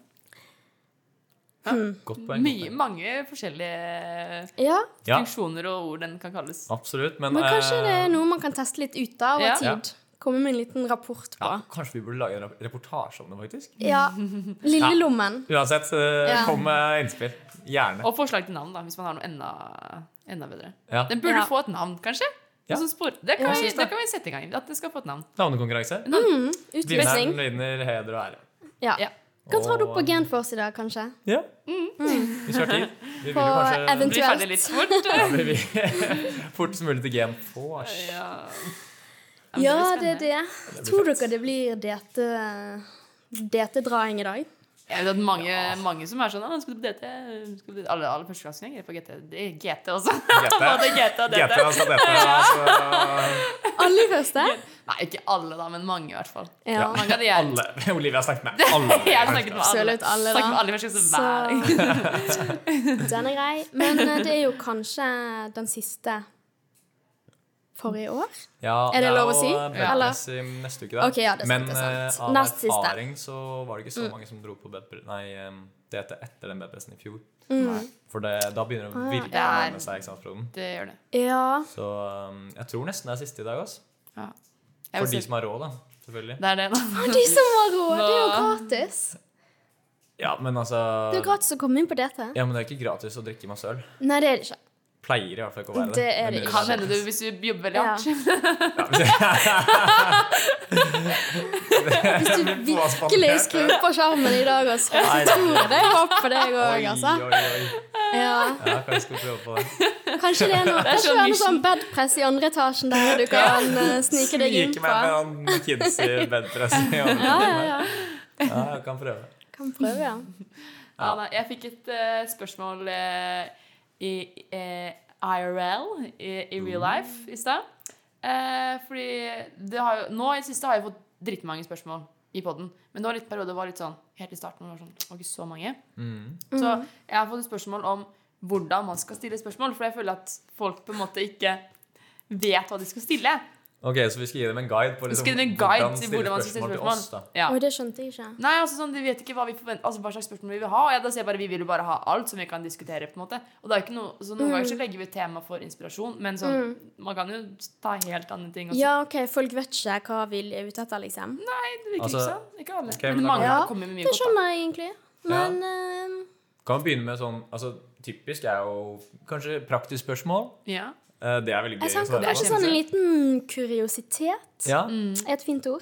[SPEAKER 2] godt poeng. godt
[SPEAKER 3] Mye,
[SPEAKER 2] poeng.
[SPEAKER 3] mange forskjellige
[SPEAKER 1] Ja,
[SPEAKER 2] Ja,
[SPEAKER 3] funksjoner og ord den kan kalles.
[SPEAKER 2] absolutt. Men,
[SPEAKER 1] Men kanskje
[SPEAKER 2] eh,
[SPEAKER 1] det er noe man kan teste litt ut av over
[SPEAKER 3] Ja.
[SPEAKER 1] tid. Komme med en liten rapport
[SPEAKER 2] ja,
[SPEAKER 1] på.
[SPEAKER 2] Kanskje vi burde lage en rap- reportasje om det, faktisk.
[SPEAKER 1] Ja. Lillelommen.
[SPEAKER 2] Uansett, eh,
[SPEAKER 1] Ja.
[SPEAKER 2] kom med innspill. Gjerne.
[SPEAKER 3] Og forslag til navn, da, hvis man har noe enda, enda bedre.
[SPEAKER 2] Ja.
[SPEAKER 3] Den burde
[SPEAKER 1] Ja.
[SPEAKER 3] få et navn, kanskje.
[SPEAKER 2] Ja.
[SPEAKER 3] Og så spor, det, kan
[SPEAKER 1] Ja.
[SPEAKER 3] vi,
[SPEAKER 2] Synes det.
[SPEAKER 3] det kan vi sette i gang. At den skal få et navn.
[SPEAKER 2] Navnekonkurranse. Vinneren
[SPEAKER 1] Utløsning.
[SPEAKER 2] vinner heder og ære.
[SPEAKER 1] Ja.
[SPEAKER 3] Ja.
[SPEAKER 1] Kan ta det opp på
[SPEAKER 2] Og-
[SPEAKER 1] Genforce i dag, kanskje.
[SPEAKER 2] Ja. Vi kjører til. Vi
[SPEAKER 1] Mm.
[SPEAKER 2] vil jo
[SPEAKER 1] På
[SPEAKER 2] kanskje
[SPEAKER 1] event-
[SPEAKER 3] Bli ferdig litt fort.
[SPEAKER 2] Ja, vi vil- Fortest mulig til GM. Fors.
[SPEAKER 3] ja.
[SPEAKER 1] Ja, det er
[SPEAKER 3] det.
[SPEAKER 1] det. Tror dere det blir dete- DT-draing i dag?
[SPEAKER 3] Jeg vet at mange, mange som er sånn «Ah, Skal du på DT? Skal du på DT?» Alle, alle førsteklassinger er på GT. Det er GT også.
[SPEAKER 2] GT.
[SPEAKER 3] Både GT og
[SPEAKER 2] GT,
[SPEAKER 3] DT.
[SPEAKER 2] altså dette. Altså,
[SPEAKER 1] Aller første?
[SPEAKER 3] Nei, ikke alle, da, men mange, i hvert fall.
[SPEAKER 1] Ja.
[SPEAKER 3] Mange av de jeg
[SPEAKER 2] Alle. Olivia har snakket med alle.
[SPEAKER 3] Jeg har snakket med alle.
[SPEAKER 1] Søle ut alle, da.
[SPEAKER 3] Snakket med alle i første klasse hver dag.
[SPEAKER 1] Den er grei. Men eh, det er jo kanskje den siste forrige år.
[SPEAKER 2] Ja,
[SPEAKER 1] Er det lov å si?
[SPEAKER 2] jo, eh,
[SPEAKER 3] Ja.
[SPEAKER 2] Bedpress i neste uke, da.
[SPEAKER 1] Ok, ja, det er sant,
[SPEAKER 2] Men
[SPEAKER 1] det er sant.
[SPEAKER 2] eh, av
[SPEAKER 1] Nest siste.
[SPEAKER 2] erfaring så var det ikke
[SPEAKER 1] Mm.
[SPEAKER 2] så mange som dro på bedpress Nei, em, det heter etter den bedpressen i fjor.
[SPEAKER 1] Mm.
[SPEAKER 3] Nei.
[SPEAKER 2] For det, da begynner det
[SPEAKER 1] Ah,
[SPEAKER 2] å
[SPEAKER 1] ja.
[SPEAKER 2] virkelig
[SPEAKER 3] Det er-
[SPEAKER 2] nærme seg eksamensperioden.
[SPEAKER 3] Det gjør det.
[SPEAKER 1] Ja.
[SPEAKER 2] Så em, jeg tror nesten det er siste i dag. Også.
[SPEAKER 3] Ja. Jeg vil
[SPEAKER 2] For de
[SPEAKER 3] si-
[SPEAKER 2] som har råd, da. Selvfølgelig.
[SPEAKER 3] Det er det, da.
[SPEAKER 1] De som har råd! Det er jo
[SPEAKER 3] Nå-
[SPEAKER 1] gratis.
[SPEAKER 2] Ja, men altså
[SPEAKER 1] Det er jo gratis å komme inn på DT.
[SPEAKER 2] Ja, men det er ikke gratis å drikke masse øl.
[SPEAKER 1] Nei, det er det ikke.
[SPEAKER 2] Pleier i hvert fall ikke å være det.
[SPEAKER 1] Det er det
[SPEAKER 2] mulig
[SPEAKER 1] ikke.
[SPEAKER 3] Kan hende du, hvis du jobber veldig hardt.
[SPEAKER 1] Hvis du
[SPEAKER 2] Jeg blir påspandert.
[SPEAKER 1] virkelig skrur på sjarmen i dag og
[SPEAKER 2] Nei,
[SPEAKER 1] skriver
[SPEAKER 2] det-
[SPEAKER 1] tror det er håp for deg òg,
[SPEAKER 2] Oi,
[SPEAKER 1] altså.
[SPEAKER 2] oi, oi.
[SPEAKER 1] Ja.
[SPEAKER 2] Ja, kanskje jeg skal prøve på det.
[SPEAKER 1] Kanskje det er noe,
[SPEAKER 3] er
[SPEAKER 1] kanskje det
[SPEAKER 3] sånn
[SPEAKER 1] er noe
[SPEAKER 3] nisjen.
[SPEAKER 1] sånn bedpress i andre etasjen der du kan eh, snike deg inn
[SPEAKER 2] Snike
[SPEAKER 1] på.
[SPEAKER 2] meg med han kids i bedpress. Ja,
[SPEAKER 1] Ja, ja, ja.
[SPEAKER 2] jeg kan prøve.
[SPEAKER 1] Kan prøve, ja.
[SPEAKER 3] Ja, da. Jeg fikk et eh, spørsmål eh, i eh, IRL, i, i real
[SPEAKER 2] Mm.
[SPEAKER 3] life, i stad. Eh, fordi det har jo, nå i det siste har jeg fått drittmange spørsmål i poden. Men det var litt periode det var litt sånn helt i starten. hvor Det var, sånn, det var ikke så mange.
[SPEAKER 2] Mm.
[SPEAKER 3] Så jeg har fått et spørsmål om hvordan man skal stille spørsmål. For jeg føler at folk på en måte ikke vet hva de skal stille.
[SPEAKER 2] Ok, så vi skal gi dem en guide på
[SPEAKER 3] Vi
[SPEAKER 2] liksom,
[SPEAKER 3] skal gi dem en guide til
[SPEAKER 2] stille
[SPEAKER 3] hvordan man skal stille
[SPEAKER 2] til oss,
[SPEAKER 3] spørsmål.
[SPEAKER 2] da.
[SPEAKER 3] Ja.
[SPEAKER 1] Oi, det skjønte jeg ikke.
[SPEAKER 3] Nei, altså sånn, De vet ikke hva, vi forventer, altså, hva slags spørsmål vi vil ha. Og jeg, da ser jeg bare, Vi vil jo bare ha alt som vi kan diskutere. på en måte Og det er jo ikke noe, så Noen ganger
[SPEAKER 1] Mm.
[SPEAKER 3] så legger vi tema for inspirasjon, men sånn, man kan jo ta helt andre ting. Også.
[SPEAKER 1] Ja, OK, folk vet ikke hva vi er ute etter, liksom.
[SPEAKER 3] Nei, det virker
[SPEAKER 2] Altså,
[SPEAKER 3] ikke sånn. Ikke alle.
[SPEAKER 2] ok, men
[SPEAKER 3] men
[SPEAKER 2] da-
[SPEAKER 3] mange
[SPEAKER 1] Ja,
[SPEAKER 3] kommer med mye
[SPEAKER 1] Det
[SPEAKER 3] godt.
[SPEAKER 1] skjønner jeg egentlig. Men eh,
[SPEAKER 2] Kan vi begynne med sånn altså, Typisk er jo kanskje praktisk spørsmål.
[SPEAKER 3] da
[SPEAKER 1] sånn-
[SPEAKER 3] ja.
[SPEAKER 2] Eh, Det er veldig gøy.
[SPEAKER 1] jeg
[SPEAKER 2] å
[SPEAKER 1] tenker
[SPEAKER 2] svare
[SPEAKER 1] kanskje
[SPEAKER 2] på.
[SPEAKER 1] sånn en liten kuriositet
[SPEAKER 2] Ja,
[SPEAKER 1] er et fint ord.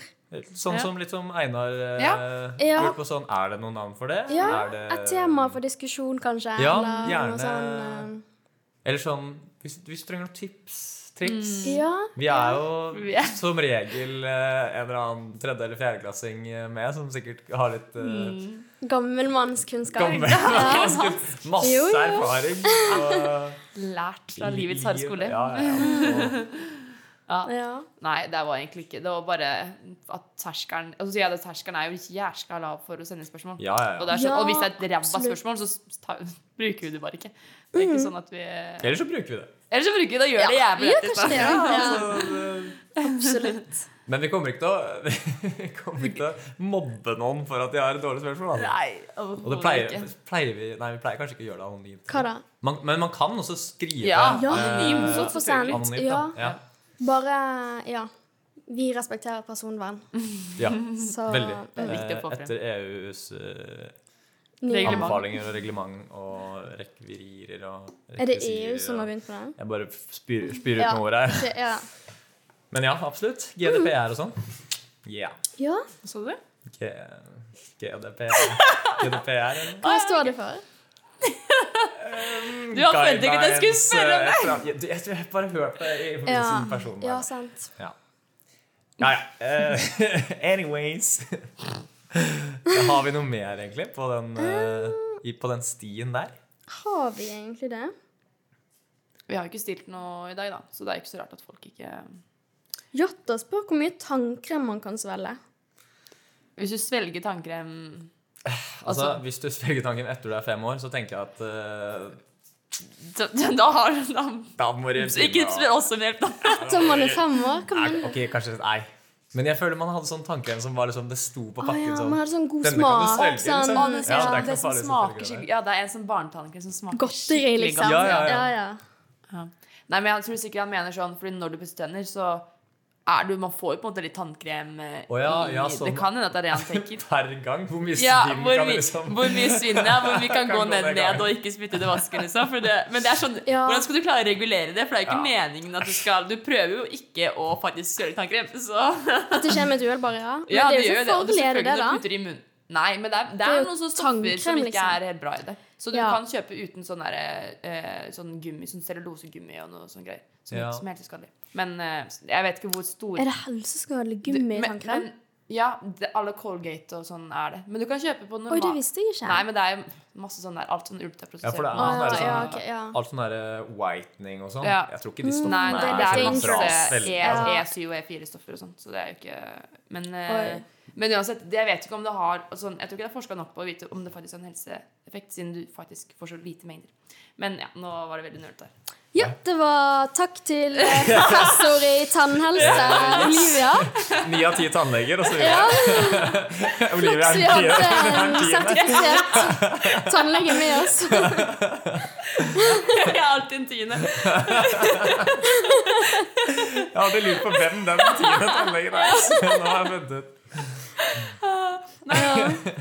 [SPEAKER 2] Sånn som litt som Einar eh,
[SPEAKER 3] Ja.
[SPEAKER 1] Ja.
[SPEAKER 2] lurte på sånn Er det noe navn for det?
[SPEAKER 1] Ja,
[SPEAKER 2] er det
[SPEAKER 1] Et tema for diskusjon, kanskje.
[SPEAKER 2] Eh. Ja,
[SPEAKER 1] eller
[SPEAKER 2] gjerne.
[SPEAKER 1] noe sånn
[SPEAKER 2] Eller sånn Hvis, hvis du trenger noen tips, triks
[SPEAKER 1] eh, Ja.
[SPEAKER 2] Vi er
[SPEAKER 3] Vi
[SPEAKER 2] jo
[SPEAKER 3] er-
[SPEAKER 2] som regel eh, en eller annen tredje- eller fjerdeklassing eh, med, som sikkert har litt eh,
[SPEAKER 3] Mm,
[SPEAKER 1] Gammelmannskunnskap.
[SPEAKER 2] gammel
[SPEAKER 1] Ja.
[SPEAKER 2] Masse
[SPEAKER 1] Jo, jo.
[SPEAKER 2] erfaring. og-
[SPEAKER 3] Lært fra livets harde skole.
[SPEAKER 2] Ja, ja, ja.
[SPEAKER 1] Ja.
[SPEAKER 3] Nei, det var egentlig ikke Det var bare at terskelen altså, sier jeg det, Terskelen er jo jævla lav for å sende spørsmål.
[SPEAKER 2] Ja, ja, ja.
[SPEAKER 3] Og, det er sånn,
[SPEAKER 1] Ja,
[SPEAKER 3] og hvis det er et ræva
[SPEAKER 1] absolutt. Mm.
[SPEAKER 3] spørsmål, så s- ta, bruker vi det bare ikke. Det er ikke sånn at vi
[SPEAKER 2] Eller så bruker vi det.
[SPEAKER 3] Ellers så bruker vi det og gjør det
[SPEAKER 1] Ja,
[SPEAKER 3] jævlig
[SPEAKER 1] vi gjør
[SPEAKER 3] rett i
[SPEAKER 1] kanskje
[SPEAKER 3] stedet.
[SPEAKER 1] det. Ja,
[SPEAKER 2] Så det-
[SPEAKER 1] absolutt.
[SPEAKER 2] Men vi kommer ikke til å, vi kommer ikke til å mobbe noen for at de har et dårlig spørsmål. Da.
[SPEAKER 3] Nei,
[SPEAKER 2] Og det
[SPEAKER 3] overhodet
[SPEAKER 2] pleier,
[SPEAKER 3] ikke.
[SPEAKER 2] pleier vi Nei, vi pleier kanskje ikke å gjøre det anonymt.
[SPEAKER 1] Hva da?
[SPEAKER 2] Man, men man kan også skrive
[SPEAKER 3] Ja,
[SPEAKER 2] eh,
[SPEAKER 1] Ja,
[SPEAKER 3] anonymt,
[SPEAKER 1] så prosent.
[SPEAKER 2] anonymt.
[SPEAKER 1] Ja.
[SPEAKER 2] Da. Ja.
[SPEAKER 1] Bare Ja. Vi respekterer personvern,
[SPEAKER 2] ja.
[SPEAKER 1] så
[SPEAKER 2] Veldig.
[SPEAKER 1] Mm.
[SPEAKER 3] Ah, er viktig å få
[SPEAKER 2] Eh, Etter EUs eh,
[SPEAKER 1] Ny-
[SPEAKER 3] Reglement.
[SPEAKER 2] anbefalinger og reglement og rekvirier og
[SPEAKER 1] Er det
[SPEAKER 2] rekvisirer
[SPEAKER 1] EU som har
[SPEAKER 2] og-
[SPEAKER 1] begynt med det?
[SPEAKER 2] Jeg bare spyr, spyr ut
[SPEAKER 1] Ja.
[SPEAKER 2] noen ord her.
[SPEAKER 1] det ja.
[SPEAKER 2] Men ja, absolutt. GDPR og sånn. Ja.
[SPEAKER 1] ja.
[SPEAKER 3] Så du?
[SPEAKER 2] G GDPR GDPR eller noe?
[SPEAKER 1] Hva står det for?
[SPEAKER 3] Du har forventet ikke at jeg skulle spørre om det!
[SPEAKER 2] om det! eh, Jeg tror jeg bare hørte det i forbindelse
[SPEAKER 1] Ja.
[SPEAKER 2] med personen.
[SPEAKER 1] ja,
[SPEAKER 2] der.
[SPEAKER 1] sant.
[SPEAKER 2] Ja, ja. ja. Eh, anyways Har vi noe mer, egentlig, på den, eh, i- på den stien der?
[SPEAKER 1] Har vi egentlig det?
[SPEAKER 3] Vi har jo ikke stilt noe i dag, da, så det er ikke så rart at folk ikke
[SPEAKER 1] Jotta spør hvor mye tannkrem man kan svelge.
[SPEAKER 3] Hvis du svelger tannkrem
[SPEAKER 2] Altså,
[SPEAKER 3] Altså-
[SPEAKER 2] Hvis du svelger tanken etter du er fem år, så tenker jeg at eh,
[SPEAKER 3] så- Da har du da,
[SPEAKER 2] da må du
[SPEAKER 3] så Ikke spør oss om hjelp, da.
[SPEAKER 1] Etter man er fem år, kan man
[SPEAKER 2] Nei, ok, kanskje Nei. Men jeg føler man hadde sånn tankekrem som var liksom, det sto på
[SPEAKER 1] Å
[SPEAKER 2] pakken
[SPEAKER 1] ja,
[SPEAKER 2] sånn.
[SPEAKER 1] man hadde sånn god
[SPEAKER 2] Denne kan du
[SPEAKER 1] smak.
[SPEAKER 2] svelge, liksom.
[SPEAKER 1] sånn, det
[SPEAKER 2] Ja, det er
[SPEAKER 1] sånn
[SPEAKER 2] ikke
[SPEAKER 3] det
[SPEAKER 2] noe
[SPEAKER 3] som
[SPEAKER 2] farlig,
[SPEAKER 3] smaker
[SPEAKER 2] selvfølgelig, det.
[SPEAKER 3] skikkelig Ja, det er en sånn barnetannkrem som smaker
[SPEAKER 1] Godteri,
[SPEAKER 3] skikkelig
[SPEAKER 1] liksom.
[SPEAKER 3] godt.
[SPEAKER 2] Ja, ja, ja.
[SPEAKER 3] Ja. Nei, men jeg tror sikkert han mener sånn, fordi når du pusser tenner, så er du Man får jo på en måte litt tannkrem eh,
[SPEAKER 2] Å ja,
[SPEAKER 3] i
[SPEAKER 2] ja, sånn.
[SPEAKER 3] Det kan hende at det er det han tenker.
[SPEAKER 2] Per gang? Hvor mye
[SPEAKER 3] Ja,
[SPEAKER 2] svinn
[SPEAKER 3] hvor,
[SPEAKER 2] kan det
[SPEAKER 3] vi,
[SPEAKER 2] liksom
[SPEAKER 3] hvor mye svinn det er, hvor vi kan,
[SPEAKER 2] Kan
[SPEAKER 3] gå
[SPEAKER 2] gå
[SPEAKER 3] ned,
[SPEAKER 2] ned
[SPEAKER 3] ned
[SPEAKER 2] gangen.
[SPEAKER 3] og ikke spytte det i vasken. Liksom, for det, men det er sånn,
[SPEAKER 1] Ja.
[SPEAKER 3] hvordan skal du klare å regulere det? For det er jo ikke
[SPEAKER 2] Ja.
[SPEAKER 3] meningen at du skal Du prøver jo ikke å faktisk svelge tannkrem. Så
[SPEAKER 1] At det kommer et uhell, bare, ja. Men
[SPEAKER 3] ja,
[SPEAKER 1] det er
[SPEAKER 3] du
[SPEAKER 1] jo
[SPEAKER 3] gjør
[SPEAKER 1] ikke
[SPEAKER 3] det, og du
[SPEAKER 1] farlig, er det det,
[SPEAKER 3] selvfølgelig
[SPEAKER 1] da?
[SPEAKER 3] du putter i munnen. Nei, men det er, det er,
[SPEAKER 1] er jo
[SPEAKER 3] noen sånne stoffer som
[SPEAKER 1] tannkrem,
[SPEAKER 3] ikke
[SPEAKER 1] liksom.
[SPEAKER 3] er helt bra i det. Så du
[SPEAKER 1] Ja.
[SPEAKER 3] kan kjøpe uten sånn derre, eh, sånn gummi, sånn cellulosegummi og noe sånn greier. Som,
[SPEAKER 2] Ja.
[SPEAKER 3] som er helt skadelig. Men eh, jeg vet ikke hvor stor
[SPEAKER 1] Er det helseskadelig gummi i
[SPEAKER 3] Men-
[SPEAKER 1] tannkrem?
[SPEAKER 3] men- Ja, det, alle Colgate og sånn er det. Men du kan kjøpe på
[SPEAKER 1] Oi, det
[SPEAKER 3] normal...
[SPEAKER 1] visste jeg ikke.
[SPEAKER 3] Nei, men det er jo masse sånn der, alt sånn ultraprosessert.
[SPEAKER 2] Ja, for det
[SPEAKER 1] Å,
[SPEAKER 2] er-
[SPEAKER 3] mat.
[SPEAKER 2] det er
[SPEAKER 1] ja,
[SPEAKER 2] sånn-
[SPEAKER 1] ja, ok, ja.
[SPEAKER 2] Alt sånn derre whitening og sånn.
[SPEAKER 3] Ja.
[SPEAKER 2] Jeg tror ikke de
[SPEAKER 3] Nei,
[SPEAKER 2] stoffene
[SPEAKER 3] nei,
[SPEAKER 2] er
[SPEAKER 3] det er
[SPEAKER 2] sånn
[SPEAKER 1] dangerous.
[SPEAKER 3] masse
[SPEAKER 2] ras-
[SPEAKER 3] E,
[SPEAKER 1] Ja.
[SPEAKER 3] E7 og E4-stoffer og sånn, så det er jo ikke Men, eh, men uansett, det- jeg vet ikke om det har og sånn, Jeg tror ikke det er forska nok på å vite om det faktisk har en helseeffekt, siden du faktisk får så lite mengder. Men ja, nå var det veldig nerdete.
[SPEAKER 1] Ja, det var takk til eh, professor i tannhelse, Olivia.
[SPEAKER 2] Ni av ti tannleger og så videre. Olivia
[SPEAKER 1] Så vi
[SPEAKER 2] er den
[SPEAKER 1] hadde en
[SPEAKER 3] sånn-
[SPEAKER 2] tiende.
[SPEAKER 1] sertifisert tannlege med oss.
[SPEAKER 3] Jeg er alltid en tiende.
[SPEAKER 2] Jeg hadde lurt på hvem den tiende tannlegen er. Så nå har jeg funnet ut.
[SPEAKER 3] Nei,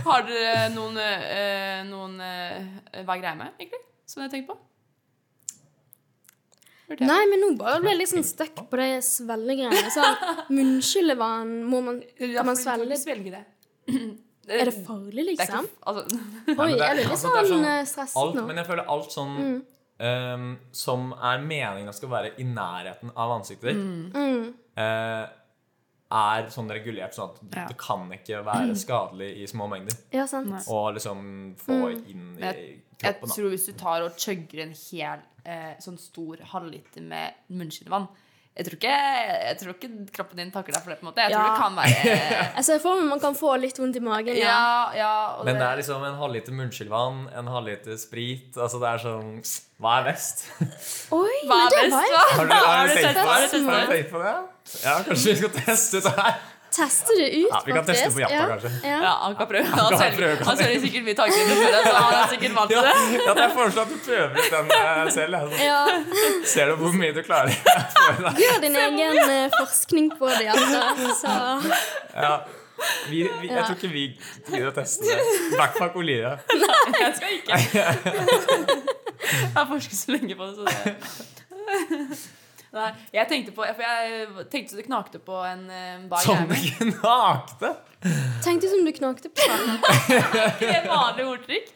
[SPEAKER 3] Har dere noen, eh, noen eh, Hva er greia med, egentlig? Som dere tenker på? Hørte jeg?
[SPEAKER 1] Nei, men nå bare ble jeg liksom stuck på de svellegreiene. Så munnskyllevann, må man,
[SPEAKER 3] Ja,
[SPEAKER 1] kan man
[SPEAKER 3] for du kan
[SPEAKER 1] svelge?
[SPEAKER 3] ikke svelge det.
[SPEAKER 1] Er det farlig,
[SPEAKER 3] Det er ikke-
[SPEAKER 1] liksom?
[SPEAKER 3] altså,
[SPEAKER 1] Oi,
[SPEAKER 2] men det er-
[SPEAKER 1] jeg blir litt
[SPEAKER 2] altså, det
[SPEAKER 1] sånn
[SPEAKER 2] er sånn-
[SPEAKER 1] eh,
[SPEAKER 2] Alt,
[SPEAKER 1] stresset nå. Mm.
[SPEAKER 2] men jeg føler alt sånn ehm, som er meningen skal være i nærheten av ansiktet ditt,
[SPEAKER 1] Mm.
[SPEAKER 2] eh, er sånn regulert sånn at
[SPEAKER 3] Ja.
[SPEAKER 2] det kan ikke være
[SPEAKER 1] Mm.
[SPEAKER 2] skadelig i små mengder.
[SPEAKER 1] Ja, sant.
[SPEAKER 3] Nei.
[SPEAKER 2] Og liksom få
[SPEAKER 1] Mm.
[SPEAKER 2] inn i
[SPEAKER 3] Jeg- jeg
[SPEAKER 2] kroppen. da.
[SPEAKER 3] tror hvis du tar og chugger en hel eh, sånn stor halvliter med munnskyllevann jeg tror, ikke, jeg tror ikke kroppen din takker deg for det. på en måte Jeg tror
[SPEAKER 1] Ja.
[SPEAKER 3] det kan være
[SPEAKER 1] Jeg ser for meg man kan få litt vondt i magen. Ja.
[SPEAKER 3] Ja, ja og
[SPEAKER 2] Men det er liksom en halvliter munnskyllevann, en halvliter sprit Altså det er sånn Hva er best?
[SPEAKER 1] Oi,
[SPEAKER 3] Hva
[SPEAKER 1] men
[SPEAKER 3] er
[SPEAKER 1] det
[SPEAKER 3] best,
[SPEAKER 1] var
[SPEAKER 3] hva?
[SPEAKER 1] jeg.
[SPEAKER 2] Har du, har du
[SPEAKER 3] du
[SPEAKER 2] tenkt
[SPEAKER 3] testet-
[SPEAKER 2] på
[SPEAKER 3] har du
[SPEAKER 2] det?
[SPEAKER 3] testet
[SPEAKER 2] Har du
[SPEAKER 3] det?
[SPEAKER 2] tenkt på det? Ja, kanskje vi skal teste ut det her?
[SPEAKER 1] Teste det ut,
[SPEAKER 2] Ja, vi kan teste på Japan, kanskje.
[SPEAKER 1] Ja.
[SPEAKER 3] Ja, han kan prøve. Han,
[SPEAKER 2] kan prøve,
[SPEAKER 3] svelger,
[SPEAKER 2] kan
[SPEAKER 3] han svelger sikkert mye tanker før, så han er sikkert vant til
[SPEAKER 2] Ja,
[SPEAKER 3] det.
[SPEAKER 2] ja, jeg foreslår at du prøver ut den eh, selv. jeg.
[SPEAKER 1] Ja.
[SPEAKER 2] Ser du hvor mye du klarer?
[SPEAKER 1] Gjør din egen eh, forskning på det, altså. Så.
[SPEAKER 2] Ja. Vi, vi, jeg tror ikke vi gidder å teste det. I hvert fall ikke Olivia.
[SPEAKER 3] Jeg skal ikke. Jeg har forsket så lenge på det, så det Nei, jeg tenkte på For jeg tenkte så det knakte på en eh, bar
[SPEAKER 2] Som
[SPEAKER 3] hjerne.
[SPEAKER 2] det knakte!
[SPEAKER 1] Tenkte som du knakte på den.
[SPEAKER 3] Er ikke det et vanlig ordtrykk?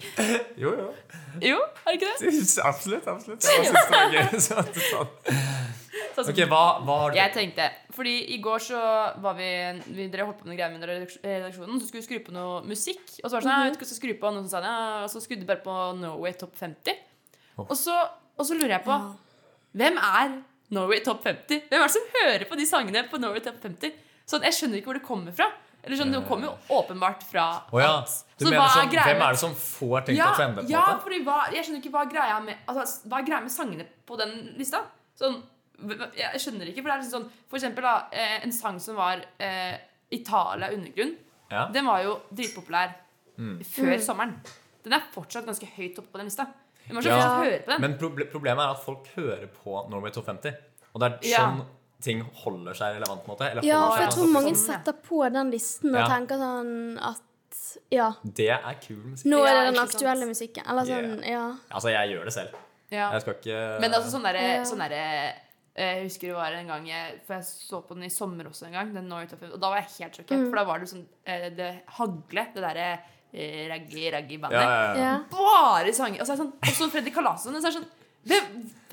[SPEAKER 2] Jo, jo.
[SPEAKER 3] Jo, er det ikke det?
[SPEAKER 2] Absolutt. absolutt. Jeg bare synes det var gøy. Så, at du sa det.
[SPEAKER 3] Sånn som-
[SPEAKER 2] Ok, hva, hva har du
[SPEAKER 3] Jeg tenkte, fordi i går så var vi, vi Dere holdt på med noen greier med under redaks- redaksjonen, så skulle vi skru på noe musikk. Og så var det sånn, «Nei, jeg vet ikke hva jeg skal skru på, og noen som sa det, «Ja», og så skrudde de bare på Norway Top 50.
[SPEAKER 2] Åh.
[SPEAKER 3] Og, så, og så lurer jeg på Hvem er Norway Top 50? Hvem er det som hører på de sangene på Norway Top 50? Sånn, Jeg skjønner ikke hvor det kommer fra. Eller sånn, Det kommer jo åpenbart fra
[SPEAKER 2] Å ja.
[SPEAKER 3] alt.
[SPEAKER 2] Du
[SPEAKER 3] Så
[SPEAKER 2] mener
[SPEAKER 3] hva er
[SPEAKER 2] sånn,
[SPEAKER 3] greia
[SPEAKER 2] hvem
[SPEAKER 3] med-
[SPEAKER 2] er det som får tenkt
[SPEAKER 3] ja,
[SPEAKER 2] å trende på
[SPEAKER 3] ja,
[SPEAKER 2] det?
[SPEAKER 3] fordi hva, jeg skjønner ikke hva er greia med altså, Hva er greia med sangene på den lista? Sånn, hva- hva- jeg skjønner ikke, for det er liksom sånn For eksempel da, eh, en sang som var eh, Italia undergrunn
[SPEAKER 2] Ja.
[SPEAKER 3] Den var jo dritpopulær
[SPEAKER 2] Mm.
[SPEAKER 3] Før sommeren Den er fortsatt ganske høyt oppe på den lista Men man skal
[SPEAKER 2] Ja.
[SPEAKER 3] fortsatt høre på den
[SPEAKER 2] Men proble problemet er at folk hører på Norway Top 50. Og det er
[SPEAKER 3] Ja.
[SPEAKER 2] sånn ting holder seg relevant. på en måte eller
[SPEAKER 1] Ja,
[SPEAKER 2] holder
[SPEAKER 1] for
[SPEAKER 2] seg
[SPEAKER 1] jeg
[SPEAKER 2] på
[SPEAKER 1] tror
[SPEAKER 2] en måte.
[SPEAKER 1] mange setter på den listen og
[SPEAKER 2] altså, sånn, Ja.
[SPEAKER 1] tenker sånn at Ja,
[SPEAKER 2] Det er kul musikk.
[SPEAKER 1] nå er det
[SPEAKER 3] Ja,
[SPEAKER 1] den
[SPEAKER 3] ikke sant.
[SPEAKER 1] aktuelle musikken. Eller sånn, ja.
[SPEAKER 2] Altså, jeg gjør det selv.
[SPEAKER 3] ja.
[SPEAKER 2] Jeg skal ikke
[SPEAKER 3] Men altså sånn derre
[SPEAKER 1] Ja.
[SPEAKER 3] sånn derre, eh, Jeg husker det var en gang jeg, For jeg så på den i sommer også en gang den Norway Top 50, Og da var jeg helt sjokkert For da var det sånn eh, Det hagle Det derre eh, raggi, raggi
[SPEAKER 2] ja,
[SPEAKER 3] bandet
[SPEAKER 2] ja, ja.
[SPEAKER 1] ja.
[SPEAKER 3] bare sanger. Og så er jeg sånn, og så Freddy Kalasson. Og så er jeg sånn det,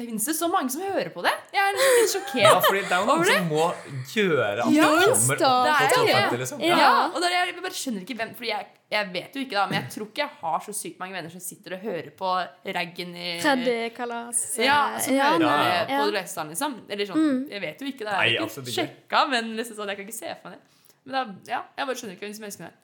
[SPEAKER 3] Fins det så mange som hører på det? Jeg er litt
[SPEAKER 2] Ja,
[SPEAKER 3] sjokkert.
[SPEAKER 2] fordi det er jo noen
[SPEAKER 3] Over det?
[SPEAKER 2] som må gjøre at
[SPEAKER 1] Ja,
[SPEAKER 2] det
[SPEAKER 1] det
[SPEAKER 2] kommer opp på
[SPEAKER 3] er jo
[SPEAKER 2] topp
[SPEAKER 3] det.
[SPEAKER 2] 50, liksom.
[SPEAKER 1] Ja.
[SPEAKER 2] Ja.
[SPEAKER 3] Ja, og da, jeg bare skjønner ikke hvem Fordi jeg, jeg vet jo ikke, da, men jeg tror ikke jeg har så sykt mange venner som sitter og hører på raggen i
[SPEAKER 1] Tredje kalas. eh,
[SPEAKER 3] Ja, altså, som
[SPEAKER 1] Ja,
[SPEAKER 3] hører
[SPEAKER 1] nei,
[SPEAKER 2] ja.
[SPEAKER 3] på
[SPEAKER 1] ja.
[SPEAKER 3] Løsdalen, liksom. Eller sånn. Jeg vet jo ikke, det
[SPEAKER 2] Nei, altså,
[SPEAKER 3] er ikke
[SPEAKER 2] absolutt ikke.
[SPEAKER 3] sjekka, men liksom sånn, jeg kan ikke se for meg det. Men da, ja, jeg bare skjønner ikke hvem som elsker det.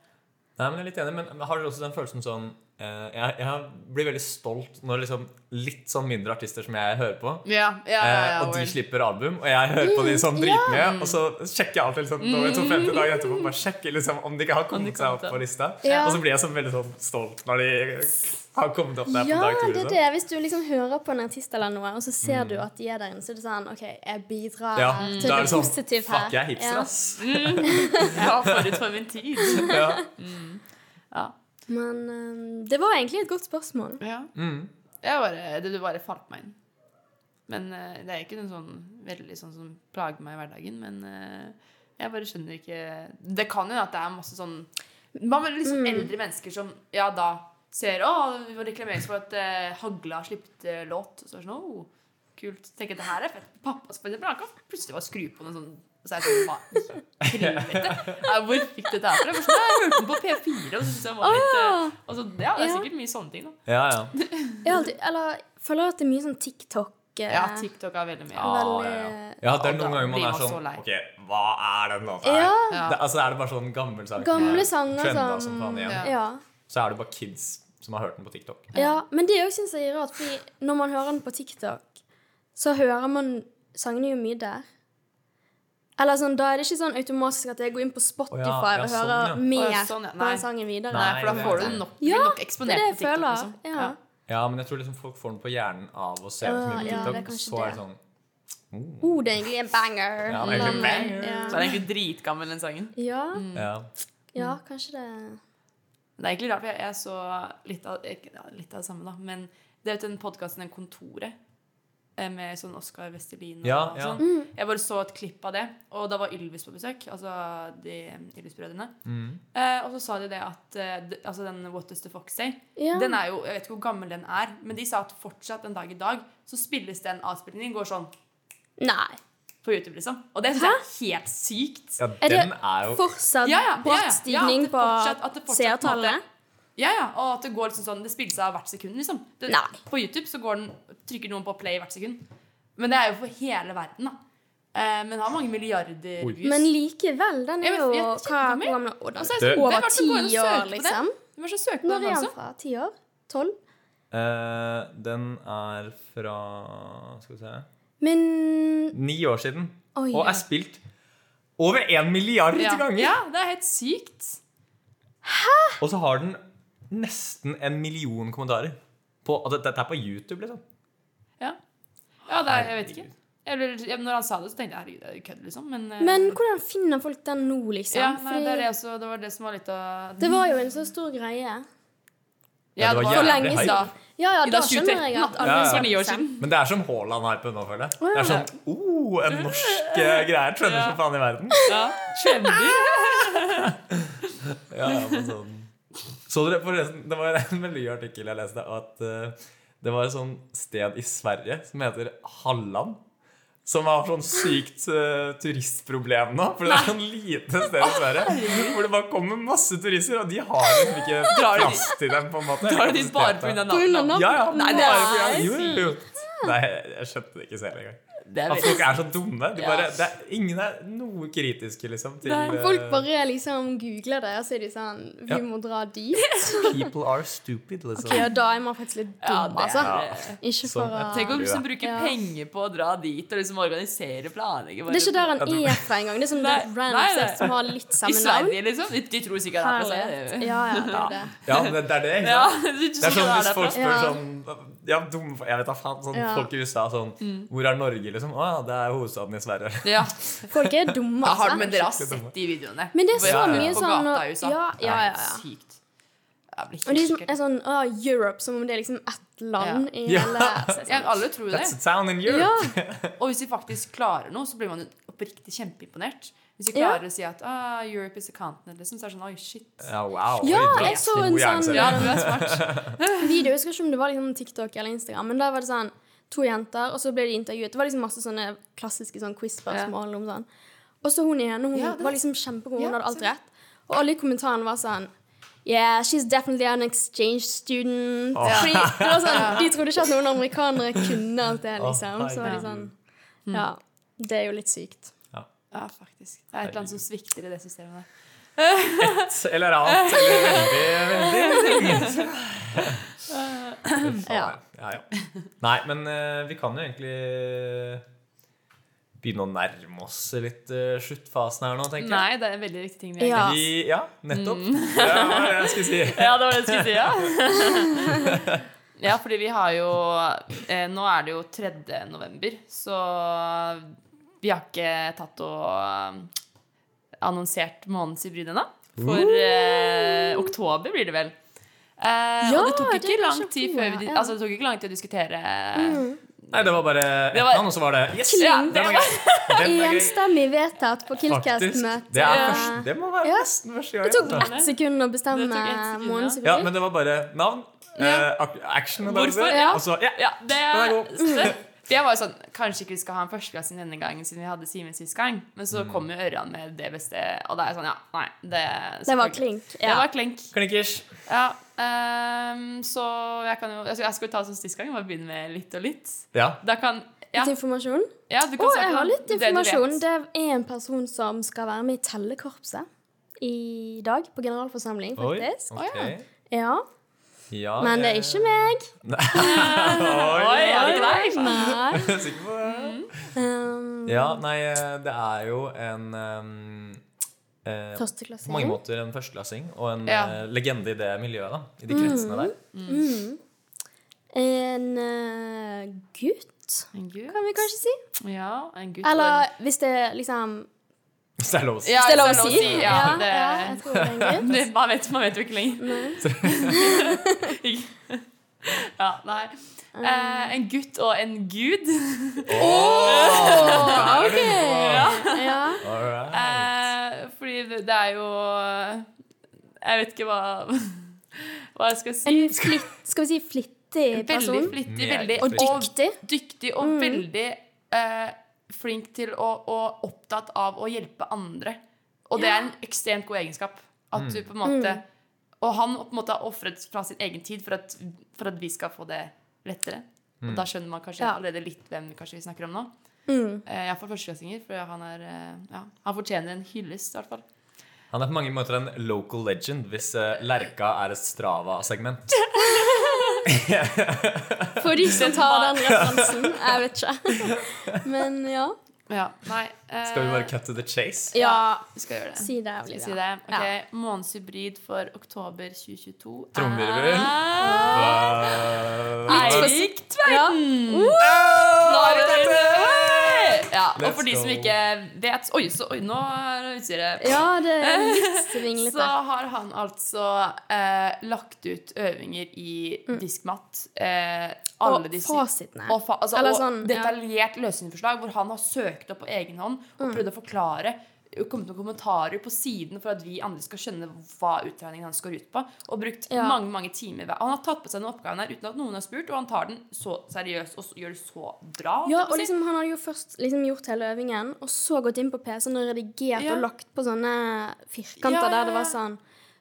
[SPEAKER 2] Nei, men jeg er litt enig, men har dere også den følelsen sånn eh, jeg, jeg blir veldig stolt når liksom litt sånn mindre artister som jeg hører på,
[SPEAKER 3] Ja, ja,
[SPEAKER 2] eh, og de slipper album, og jeg hører på de sånn dritmye, og så sjekker jeg alltid liksom, når jeg tar 50 dager etterpå, bare sjekker liksom, om de ikke har kommet seg
[SPEAKER 3] kommet
[SPEAKER 2] opp
[SPEAKER 3] opp.
[SPEAKER 2] på lista.
[SPEAKER 1] Ja.
[SPEAKER 2] Og så blir jeg sånn veldig sånn stolt når de har kommet opp der på
[SPEAKER 1] Ja,
[SPEAKER 2] dag to.
[SPEAKER 1] det er
[SPEAKER 2] Liksom.
[SPEAKER 1] det. Hvis du liksom hører på en artist eller noe, og så ser du at de er der inne, så er det sånn OK, jeg bidrar
[SPEAKER 2] Mm. Ja,
[SPEAKER 1] til
[SPEAKER 2] da
[SPEAKER 1] Mm. det
[SPEAKER 2] er det sånn
[SPEAKER 1] positive her.
[SPEAKER 2] Fuck, jeg er hipster,
[SPEAKER 1] Ja.
[SPEAKER 2] ass.
[SPEAKER 3] Jeg var forut for min tid. Mm.
[SPEAKER 2] Ja.
[SPEAKER 3] Ja.
[SPEAKER 1] Men eh, det var egentlig et godt spørsmål.
[SPEAKER 3] Ja.
[SPEAKER 2] Mm.
[SPEAKER 3] Jeg bare, det du bare falt meg inn. Men eh, det er ikke noe sånn veldig sånn som plager meg i hverdagen, men eh, jeg bare skjønner ikke Det kan jo at det er masse sånn Hva med liksom eldre mennesker som ja da ser Å, det reklameres for at eh, Hagle har sluppet eh, låt. Og så er det sånn, «Å, kult. Tenk at det her er fett. Pappa spiller bra. Han kan plutselig bare skru på noe sånn. Og så er jeg sånn, hva? i Helvete. Nei, Hvor fikk dette her fra? Først da jeg hørte den på P4, og så synes jeg den var litt... eh, Og så, ja, det er
[SPEAKER 1] Ja.
[SPEAKER 3] sikkert mye sånne ting da.
[SPEAKER 2] Ja, ja.
[SPEAKER 1] Jeg har alltid, eller føler at det er mye sånn TikTok. eh,
[SPEAKER 3] Ja, TikTok er veldig mye.
[SPEAKER 2] Ja, ja, ja. ja, det er
[SPEAKER 3] Og da
[SPEAKER 2] noen ganger man
[SPEAKER 3] blir
[SPEAKER 2] er
[SPEAKER 3] man så
[SPEAKER 2] sånn
[SPEAKER 3] lei.
[SPEAKER 2] Ok, hva er den låta her?
[SPEAKER 1] Ja.
[SPEAKER 3] Ja.
[SPEAKER 2] Det, altså, er det bare sånn gammel sang?
[SPEAKER 1] Gamle
[SPEAKER 2] Ja.
[SPEAKER 1] sanger sånn- som-
[SPEAKER 2] Trenda som faen igjen.
[SPEAKER 3] Ja.
[SPEAKER 1] ja.
[SPEAKER 2] Så er det bare kids som har hørt den på TikTok.
[SPEAKER 1] Ja, men det òg syns jeg er rart, fordi når man hører den på TikTok, så hører man sangene jo mye der. Eller sånn, Da er det ikke sånn automatisk at jeg går inn på Spotify
[SPEAKER 2] Å ja, ja,
[SPEAKER 1] og
[SPEAKER 2] sånn,
[SPEAKER 1] hører
[SPEAKER 2] ja.
[SPEAKER 1] mer
[SPEAKER 3] Å ja, sånn, ja.
[SPEAKER 1] på
[SPEAKER 3] Nei.
[SPEAKER 1] den sangen videre.
[SPEAKER 3] Nei, for
[SPEAKER 2] Nei,
[SPEAKER 3] da får
[SPEAKER 2] det-
[SPEAKER 3] du nok,
[SPEAKER 1] Ja,
[SPEAKER 3] blir nok
[SPEAKER 1] Det er
[SPEAKER 3] eksponert
[SPEAKER 1] det
[SPEAKER 3] på
[SPEAKER 1] jeg
[SPEAKER 3] TikTok.
[SPEAKER 1] føler.
[SPEAKER 3] liksom.
[SPEAKER 1] Ja.
[SPEAKER 2] Ja, men jeg tror liksom folk får den på hjernen av å se det så mye
[SPEAKER 1] Ja,
[SPEAKER 2] på
[SPEAKER 1] ja,
[SPEAKER 2] TikTok.
[SPEAKER 1] det er kanskje
[SPEAKER 2] så er det
[SPEAKER 1] det.
[SPEAKER 2] sånn
[SPEAKER 1] Oh, det er egentlig en banger.
[SPEAKER 2] Ja, det er
[SPEAKER 3] Mm,
[SPEAKER 2] egentlig en
[SPEAKER 1] Eller-
[SPEAKER 2] banger.
[SPEAKER 3] Så er den egentlig dritgammel, den sangen.
[SPEAKER 1] Ja.
[SPEAKER 3] Mm.
[SPEAKER 2] Ja.
[SPEAKER 1] ja, kanskje det
[SPEAKER 3] Det er egentlig rart, for jeg, jeg så litt av, ikke- ja, litt av det samme, da. Men det er jo den podkasten Den Kontoret eh, med sånn Oskar Vestelin og,
[SPEAKER 2] Ja, ja.
[SPEAKER 3] sånn. Jeg bare så et klipp av det, og da var Ylvis på besøk. Altså de Ylvis-brødrene.
[SPEAKER 2] Mm.
[SPEAKER 3] Eh, og så sa de det at eh, d- altså den What Does The Fox Say
[SPEAKER 1] Ja.
[SPEAKER 3] Den er jo, Jeg vet ikke hvor gammel den er, men de sa at fortsatt en dag i dag så spilles den avspillingen går sånn
[SPEAKER 1] Nei.
[SPEAKER 3] på YouTube, liksom. Og det syns jeg er helt sykt.
[SPEAKER 2] ja,
[SPEAKER 1] Er det
[SPEAKER 2] den er jo
[SPEAKER 1] fortsatt
[SPEAKER 3] Ja, ja, ja, ja.
[SPEAKER 1] bratt
[SPEAKER 3] Ja, at
[SPEAKER 1] stigning
[SPEAKER 3] det fortsatt- at det
[SPEAKER 1] på
[SPEAKER 3] fortsatt på en måte-
[SPEAKER 1] seertallet?
[SPEAKER 3] Ja, ja, og at det går liksom sånn Det spilles av hvert sekund, liksom. Det,
[SPEAKER 1] Nei.
[SPEAKER 3] På YouTube så går den, trykker noen på play hvert sekund. Men det er jo for hele verden, da. Eh, men har mange milliarder
[SPEAKER 2] Oi.
[SPEAKER 3] views.
[SPEAKER 1] Men likevel, den
[SPEAKER 3] Jeg
[SPEAKER 1] er
[SPEAKER 3] vet-
[SPEAKER 1] jo
[SPEAKER 3] jeg
[SPEAKER 1] hva,
[SPEAKER 3] vet ikke hvor
[SPEAKER 1] hvor
[SPEAKER 3] mye.
[SPEAKER 1] gammel Å, den
[SPEAKER 3] Altså,
[SPEAKER 2] Du-
[SPEAKER 1] er
[SPEAKER 3] det er
[SPEAKER 1] Over
[SPEAKER 3] verdt å
[SPEAKER 1] ti
[SPEAKER 3] gå inn og søke på
[SPEAKER 1] år,
[SPEAKER 3] den.
[SPEAKER 1] liksom.
[SPEAKER 3] Du må ikke søke på
[SPEAKER 1] Når
[SPEAKER 3] den
[SPEAKER 1] er
[SPEAKER 2] altså?
[SPEAKER 1] den
[SPEAKER 3] også.
[SPEAKER 1] fra? Ti år? Tolv?
[SPEAKER 2] eh, Den er fra Skal vi se
[SPEAKER 1] Men
[SPEAKER 2] Ni år siden.
[SPEAKER 1] Oi,
[SPEAKER 2] og
[SPEAKER 1] ja.
[SPEAKER 2] er spilt over én milliard
[SPEAKER 3] Ja.
[SPEAKER 2] ganger!
[SPEAKER 3] ja, det er helt sykt.
[SPEAKER 2] Og så har den nesten en million kommentarer. På, og det- dette er på YouTube, liksom.
[SPEAKER 3] Ja, ja det er, jeg vet ikke. Eller, ja, når han sa det, så tenkte jeg herregud, det er jo kødd, liksom. Men, eh,
[SPEAKER 1] Men hvordan finner folk den nå, liksom?
[SPEAKER 3] ja, nei,
[SPEAKER 1] Fordi
[SPEAKER 3] det, er det, også, det var det som var litt av
[SPEAKER 1] det var jo en så stor greie.
[SPEAKER 2] Ja, det var
[SPEAKER 1] For
[SPEAKER 2] jævlig
[SPEAKER 1] lenge
[SPEAKER 2] hype.
[SPEAKER 1] siden. Ja, ja,
[SPEAKER 3] I
[SPEAKER 1] da
[SPEAKER 3] dag
[SPEAKER 1] skjønner jeg
[SPEAKER 3] 2013,
[SPEAKER 1] at alle
[SPEAKER 2] Ja, ja.
[SPEAKER 1] snakker
[SPEAKER 2] For
[SPEAKER 3] ni år
[SPEAKER 1] sammen.
[SPEAKER 2] Men det er som Haaland-hypen nå, føler jeg. Det er
[SPEAKER 1] ja.
[SPEAKER 2] sånn oh, en norsk eh, greie. Trender
[SPEAKER 3] Ja.
[SPEAKER 2] som faen i verden.
[SPEAKER 3] Ja, Trender.
[SPEAKER 2] Ja, ja, men sånn. Så dere forresten, det var en veldig gøy artikkel jeg leste, at eh, det var et sånt sted i Sverige som heter Halland. Som har sånn sykt eh, turistproblem nå. For det er sånn lite sted i Sverige hvor det bare kommer masse turister, og de har liksom ikke
[SPEAKER 3] Drar de-
[SPEAKER 2] plass til dem, på en måte.
[SPEAKER 3] Da er det de bare på grunn av
[SPEAKER 1] På grunn av navnet.
[SPEAKER 3] navnet.
[SPEAKER 2] Ja, ja.
[SPEAKER 1] Nei,
[SPEAKER 2] det
[SPEAKER 3] det
[SPEAKER 2] er
[SPEAKER 3] er
[SPEAKER 2] fordi, jo, jo, jo. Nei, jeg skjønte det ikke selv engang.
[SPEAKER 3] Det er
[SPEAKER 2] At
[SPEAKER 3] veldig
[SPEAKER 2] folk er så dumme. De
[SPEAKER 3] Ja.
[SPEAKER 2] bare, det er, ingen er noe kritiske, liksom, til
[SPEAKER 3] Nei,
[SPEAKER 1] Folk
[SPEAKER 2] eh,
[SPEAKER 1] bare liksom googler det, og så er de sånn
[SPEAKER 2] Ja.
[SPEAKER 1] Vi må dra dit.
[SPEAKER 2] People are stupid, liksom.
[SPEAKER 1] Ja, da er man faktisk litt
[SPEAKER 3] Ja,
[SPEAKER 1] dum,
[SPEAKER 3] det
[SPEAKER 1] altså.
[SPEAKER 3] er-
[SPEAKER 1] Ikke
[SPEAKER 2] Sånn.
[SPEAKER 1] for å
[SPEAKER 3] Tenk å
[SPEAKER 1] Det
[SPEAKER 3] liksom bruke
[SPEAKER 1] Ja.
[SPEAKER 3] penger på å dra dit og liksom organisere planlegge. bare-
[SPEAKER 1] er ikke der han er fra engang. Det er sånn
[SPEAKER 3] Nei,
[SPEAKER 1] et random
[SPEAKER 3] nei, nei.
[SPEAKER 1] sted som har litt
[SPEAKER 3] I
[SPEAKER 1] samme navn.
[SPEAKER 3] Sverige, liksom. De, de tror sikkert at det er fra
[SPEAKER 1] Herlighet.
[SPEAKER 3] Sverige.
[SPEAKER 1] Ja, ja, det er det.
[SPEAKER 2] Ja, det, det er det. ikke
[SPEAKER 3] Ja,
[SPEAKER 2] sant?
[SPEAKER 3] de
[SPEAKER 2] Det er sånn
[SPEAKER 3] tror sikkert
[SPEAKER 2] Hvis
[SPEAKER 3] det er
[SPEAKER 2] folk
[SPEAKER 3] derfra.
[SPEAKER 2] spør
[SPEAKER 1] Ja.
[SPEAKER 2] sånn ja, dumme, folk- Jeg vet da faen. Sånn,
[SPEAKER 1] Ja.
[SPEAKER 2] Folk i USA sånn
[SPEAKER 3] Mm.
[SPEAKER 2] Hvor er Norge, liksom? Å ja, det er hovedstaden i Sverige.
[SPEAKER 3] Ja.
[SPEAKER 1] Folk er dumme,
[SPEAKER 3] Ja, har, men
[SPEAKER 1] altså.
[SPEAKER 3] dere har sett de videoene?
[SPEAKER 1] Men det er
[SPEAKER 3] Hvor-
[SPEAKER 1] så
[SPEAKER 2] Ja, ja.
[SPEAKER 1] mye
[SPEAKER 3] på
[SPEAKER 1] sånn
[SPEAKER 3] gata i USA.
[SPEAKER 1] Ja, ja, ja.
[SPEAKER 3] Det er
[SPEAKER 1] ja.
[SPEAKER 3] Sykt. Jeg blir
[SPEAKER 1] Og de som
[SPEAKER 3] helt
[SPEAKER 1] er
[SPEAKER 3] sjokkert.
[SPEAKER 1] sånn Å, Europe, som om det er liksom ett land i
[SPEAKER 2] Ja.
[SPEAKER 1] hele
[SPEAKER 3] Ja, alle tror det.
[SPEAKER 2] That's a town in Europe.
[SPEAKER 1] Ja.
[SPEAKER 3] Og hvis de faktisk klarer noe, så blir man oppriktig kjempeimponert. Hvis de
[SPEAKER 1] Ja.
[SPEAKER 3] klarer å si at ah, 'Europe is a continent', liksom, så er det sånn Oi, shit.
[SPEAKER 2] Ja, wow.
[SPEAKER 1] Ja,
[SPEAKER 2] Oi,
[SPEAKER 1] jeg så
[SPEAKER 2] god
[SPEAKER 1] en
[SPEAKER 2] hjerne,
[SPEAKER 1] sånn-
[SPEAKER 2] ser jeg.
[SPEAKER 3] Ja, du er smart.
[SPEAKER 1] video. Jeg husker ikke om det var liksom TikTok eller Instagram, men der var det sånn to jenter, og så ble de intervjuet. Det var liksom masse sånne klassiske sånn quiz-spørsmål om sånn. Og så hun ene, hun
[SPEAKER 3] Ja, det-
[SPEAKER 1] var liksom kjempegod, hun
[SPEAKER 3] Ja,
[SPEAKER 1] hadde alt
[SPEAKER 3] sant.
[SPEAKER 1] rett. Og alle i kommentaren var sånn Yeah, she's definitely an exchange student. Fordi det var sånn, De trodde ikke at noen amerikanere kunne alt det,
[SPEAKER 2] Å,
[SPEAKER 1] liksom. Så var de sånn
[SPEAKER 2] herregud.
[SPEAKER 3] Mm.
[SPEAKER 1] Ja, det er jo litt sykt.
[SPEAKER 3] Ja, faktisk. Det er et eller annet som svikter i det systemet der.
[SPEAKER 2] Eller annet. Eller veldig, veldig
[SPEAKER 1] Ja.
[SPEAKER 2] ja, ja. Nei, men eh, vi kan jo egentlig begynne å nærme oss litt eh, sluttfasen her nå, tenker jeg.
[SPEAKER 3] Nei, det er en veldig viktig ting vi har
[SPEAKER 1] Ja.
[SPEAKER 2] Vi, ja, nettopp. Det var det jeg skulle si.
[SPEAKER 3] Ja, det var det jeg skulle si, ja. ja, fordi vi har jo eh, Nå er det jo 3. november, så vi har ikke tatt og eh, annonsert månedens hybrid ennå. For eh, oktober blir det vel. Eh,
[SPEAKER 1] Ja,
[SPEAKER 3] og det tok
[SPEAKER 1] det
[SPEAKER 3] ikke
[SPEAKER 1] er
[SPEAKER 3] lang
[SPEAKER 1] kanskje
[SPEAKER 3] tid
[SPEAKER 1] oktober,
[SPEAKER 3] før vi,
[SPEAKER 1] ja. Mm.
[SPEAKER 3] altså, det tok ikke lang tid å diskutere
[SPEAKER 2] Nei, det var bare
[SPEAKER 3] Det
[SPEAKER 2] ett
[SPEAKER 3] var-
[SPEAKER 2] navn, og så var det Yes!
[SPEAKER 1] Kling.
[SPEAKER 3] Ja,
[SPEAKER 2] Den
[SPEAKER 3] det
[SPEAKER 2] er
[SPEAKER 3] var,
[SPEAKER 2] gøy. Den er gøy.
[SPEAKER 1] Enstemmig vedtatt på
[SPEAKER 2] Faktisk.
[SPEAKER 1] Killcast-møtet.
[SPEAKER 2] Det, er første, det må være
[SPEAKER 1] Ja.
[SPEAKER 2] nesten første
[SPEAKER 1] Det
[SPEAKER 2] gang.
[SPEAKER 1] tok ett sekund å bestemme
[SPEAKER 3] Det tok ett sekund, ja.
[SPEAKER 1] månedens
[SPEAKER 2] Ja, men det var bare navn, eh, ak- action og
[SPEAKER 3] Hvorfor?
[SPEAKER 2] dager,
[SPEAKER 1] Ja.
[SPEAKER 2] og så ja.
[SPEAKER 3] ja, det
[SPEAKER 2] Den er god.
[SPEAKER 3] det- For jeg var jo sånn, Kanskje ikke vi skal ha en førsteklassing denne gangen, siden vi hadde Simen sist gang. Men så kom jo Ørjan med det beste, og da er jeg sånn, ja, nei. Det,
[SPEAKER 1] Det var klink.
[SPEAKER 3] Det
[SPEAKER 1] Ja.
[SPEAKER 3] var klink.
[SPEAKER 2] Klinkers.
[SPEAKER 3] Ja, ehm, så jeg kan jo Jeg skal, jeg skal jo ta det som sist gang, bare begynne med litt og litt.
[SPEAKER 2] Ja.
[SPEAKER 3] Da kan Ja,
[SPEAKER 1] Litt informasjon?
[SPEAKER 3] ja du
[SPEAKER 1] Å,
[SPEAKER 3] kan
[SPEAKER 1] jeg
[SPEAKER 3] snakke
[SPEAKER 1] har
[SPEAKER 3] om
[SPEAKER 1] litt
[SPEAKER 3] det du vet.
[SPEAKER 1] informasjon. Det er en person som skal være med i tellekorpset i dag, på generalforsamling,
[SPEAKER 2] Oi.
[SPEAKER 1] faktisk.
[SPEAKER 2] Ok.
[SPEAKER 1] Ja.
[SPEAKER 2] Ja,
[SPEAKER 1] Men det er ikke meg.
[SPEAKER 3] Oi, er det ikke deg?
[SPEAKER 1] Nei.
[SPEAKER 2] Jeg er sikker på
[SPEAKER 1] Mm.
[SPEAKER 2] det.
[SPEAKER 1] Um,
[SPEAKER 2] Ja, nei, eh, det er jo en ehm, eh, på mange
[SPEAKER 1] Førsteklassingen.
[SPEAKER 2] måter en førsteklassing og en
[SPEAKER 3] Ja.
[SPEAKER 2] eh, legende i det miljøet. da, I de
[SPEAKER 1] Mm.
[SPEAKER 2] kretsene der.
[SPEAKER 1] En eh, gutt,
[SPEAKER 3] En gutt.
[SPEAKER 1] kan vi kanskje si.
[SPEAKER 3] Ja, en gutt. og en-
[SPEAKER 1] Eller hvis det er liksom
[SPEAKER 2] Hvis det er lov å si.
[SPEAKER 3] ja,
[SPEAKER 1] Hvis det er lov
[SPEAKER 3] hvis
[SPEAKER 1] å si.
[SPEAKER 3] Ja,
[SPEAKER 1] Ja,
[SPEAKER 3] det,
[SPEAKER 1] ja, jeg tror det er en gutt.
[SPEAKER 3] det, man, vet, man vet jo ikke lenger. ja, nei.
[SPEAKER 1] Ehm,
[SPEAKER 3] Eh, en gutt og en gud.
[SPEAKER 1] Åh, ok. Ja.
[SPEAKER 2] Alright.
[SPEAKER 3] Eh, fordi det, det er jo Jeg vet ikke hva Hva jeg skal si.
[SPEAKER 1] En flitt, skal vi si flittig
[SPEAKER 3] Veldig
[SPEAKER 1] person.
[SPEAKER 3] flittig,
[SPEAKER 2] Meget
[SPEAKER 3] veldig
[SPEAKER 1] Og
[SPEAKER 2] flittig.
[SPEAKER 1] dyktig.
[SPEAKER 3] dyktig og
[SPEAKER 1] Mm.
[SPEAKER 3] veldig eh, flink til å, og opptatt av å hjelpe andre. Og det er en ekstremt god egenskap. At
[SPEAKER 2] Mm.
[SPEAKER 3] du på en måte
[SPEAKER 1] Mm.
[SPEAKER 3] Og han på en måte har ofret fra sin egen tid for at, for at vi skal få det lettere.
[SPEAKER 2] Mm.
[SPEAKER 3] Og da skjønner man kanskje
[SPEAKER 1] Ja.
[SPEAKER 3] allerede litt hvem kanskje vi snakker om nå.
[SPEAKER 1] Mm.
[SPEAKER 3] Eh, jeg får førsteklassinger, for han er eh, ja, Han fortjener en hyllest, i hvert fall.
[SPEAKER 2] Han er på mange måter en local legend hvis eh, Lerka er et Strava-segment.
[SPEAKER 1] For de som tar den referansen. Jeg vet ikke. Men ja.
[SPEAKER 3] Ja, nei eh,
[SPEAKER 2] Skal vi bare cut to the chase?
[SPEAKER 1] Ja,
[SPEAKER 3] Vi skal gjøre det.
[SPEAKER 1] si det.
[SPEAKER 3] Skal vi
[SPEAKER 1] Olivia.
[SPEAKER 3] si det? Ok,
[SPEAKER 1] Ja.
[SPEAKER 3] Månens hybrid for oktober Eh, 2022
[SPEAKER 2] Trommevirvel.
[SPEAKER 3] er
[SPEAKER 2] Eh, Eirik
[SPEAKER 3] Eirik Tveiten! Ja, og for de
[SPEAKER 2] Let's
[SPEAKER 3] som
[SPEAKER 2] go.
[SPEAKER 3] ikke vet Oi, så, oi nå er utstyret
[SPEAKER 1] Ja, det er litt svinglete.
[SPEAKER 3] Så har han altså eh, lagt ut øvinger i
[SPEAKER 1] Mm.
[SPEAKER 3] diskmatt. Eh, alle
[SPEAKER 1] Og
[SPEAKER 3] disse
[SPEAKER 1] fasitene.
[SPEAKER 3] og, fa altså,
[SPEAKER 1] Eller
[SPEAKER 3] og
[SPEAKER 1] sånn, ja.
[SPEAKER 3] detaljert løsningsforslag hvor han har søkt opp på egen hånd
[SPEAKER 1] Mm.
[SPEAKER 3] og prøvd å forklare. Kommet med kommentarer på siden for at vi andre skal skjønne hva utregningen hans går ut på. Og brukt
[SPEAKER 1] Ja.
[SPEAKER 3] mange mange timer hver. Han har tatt på seg den oppgaven her uten at noen har spurt, og han tar den så seriøst og så, gjør det så bra. holdt jeg
[SPEAKER 1] Ja,
[SPEAKER 3] på å
[SPEAKER 1] og
[SPEAKER 3] si.
[SPEAKER 1] liksom, Han hadde jo først liksom, gjort hele øvingen, og så gått inn på PC-en og redigert
[SPEAKER 3] Ja.
[SPEAKER 1] og lagt på sånne firkanter
[SPEAKER 3] Ja, ja,
[SPEAKER 1] der det var
[SPEAKER 3] ja.
[SPEAKER 1] sånn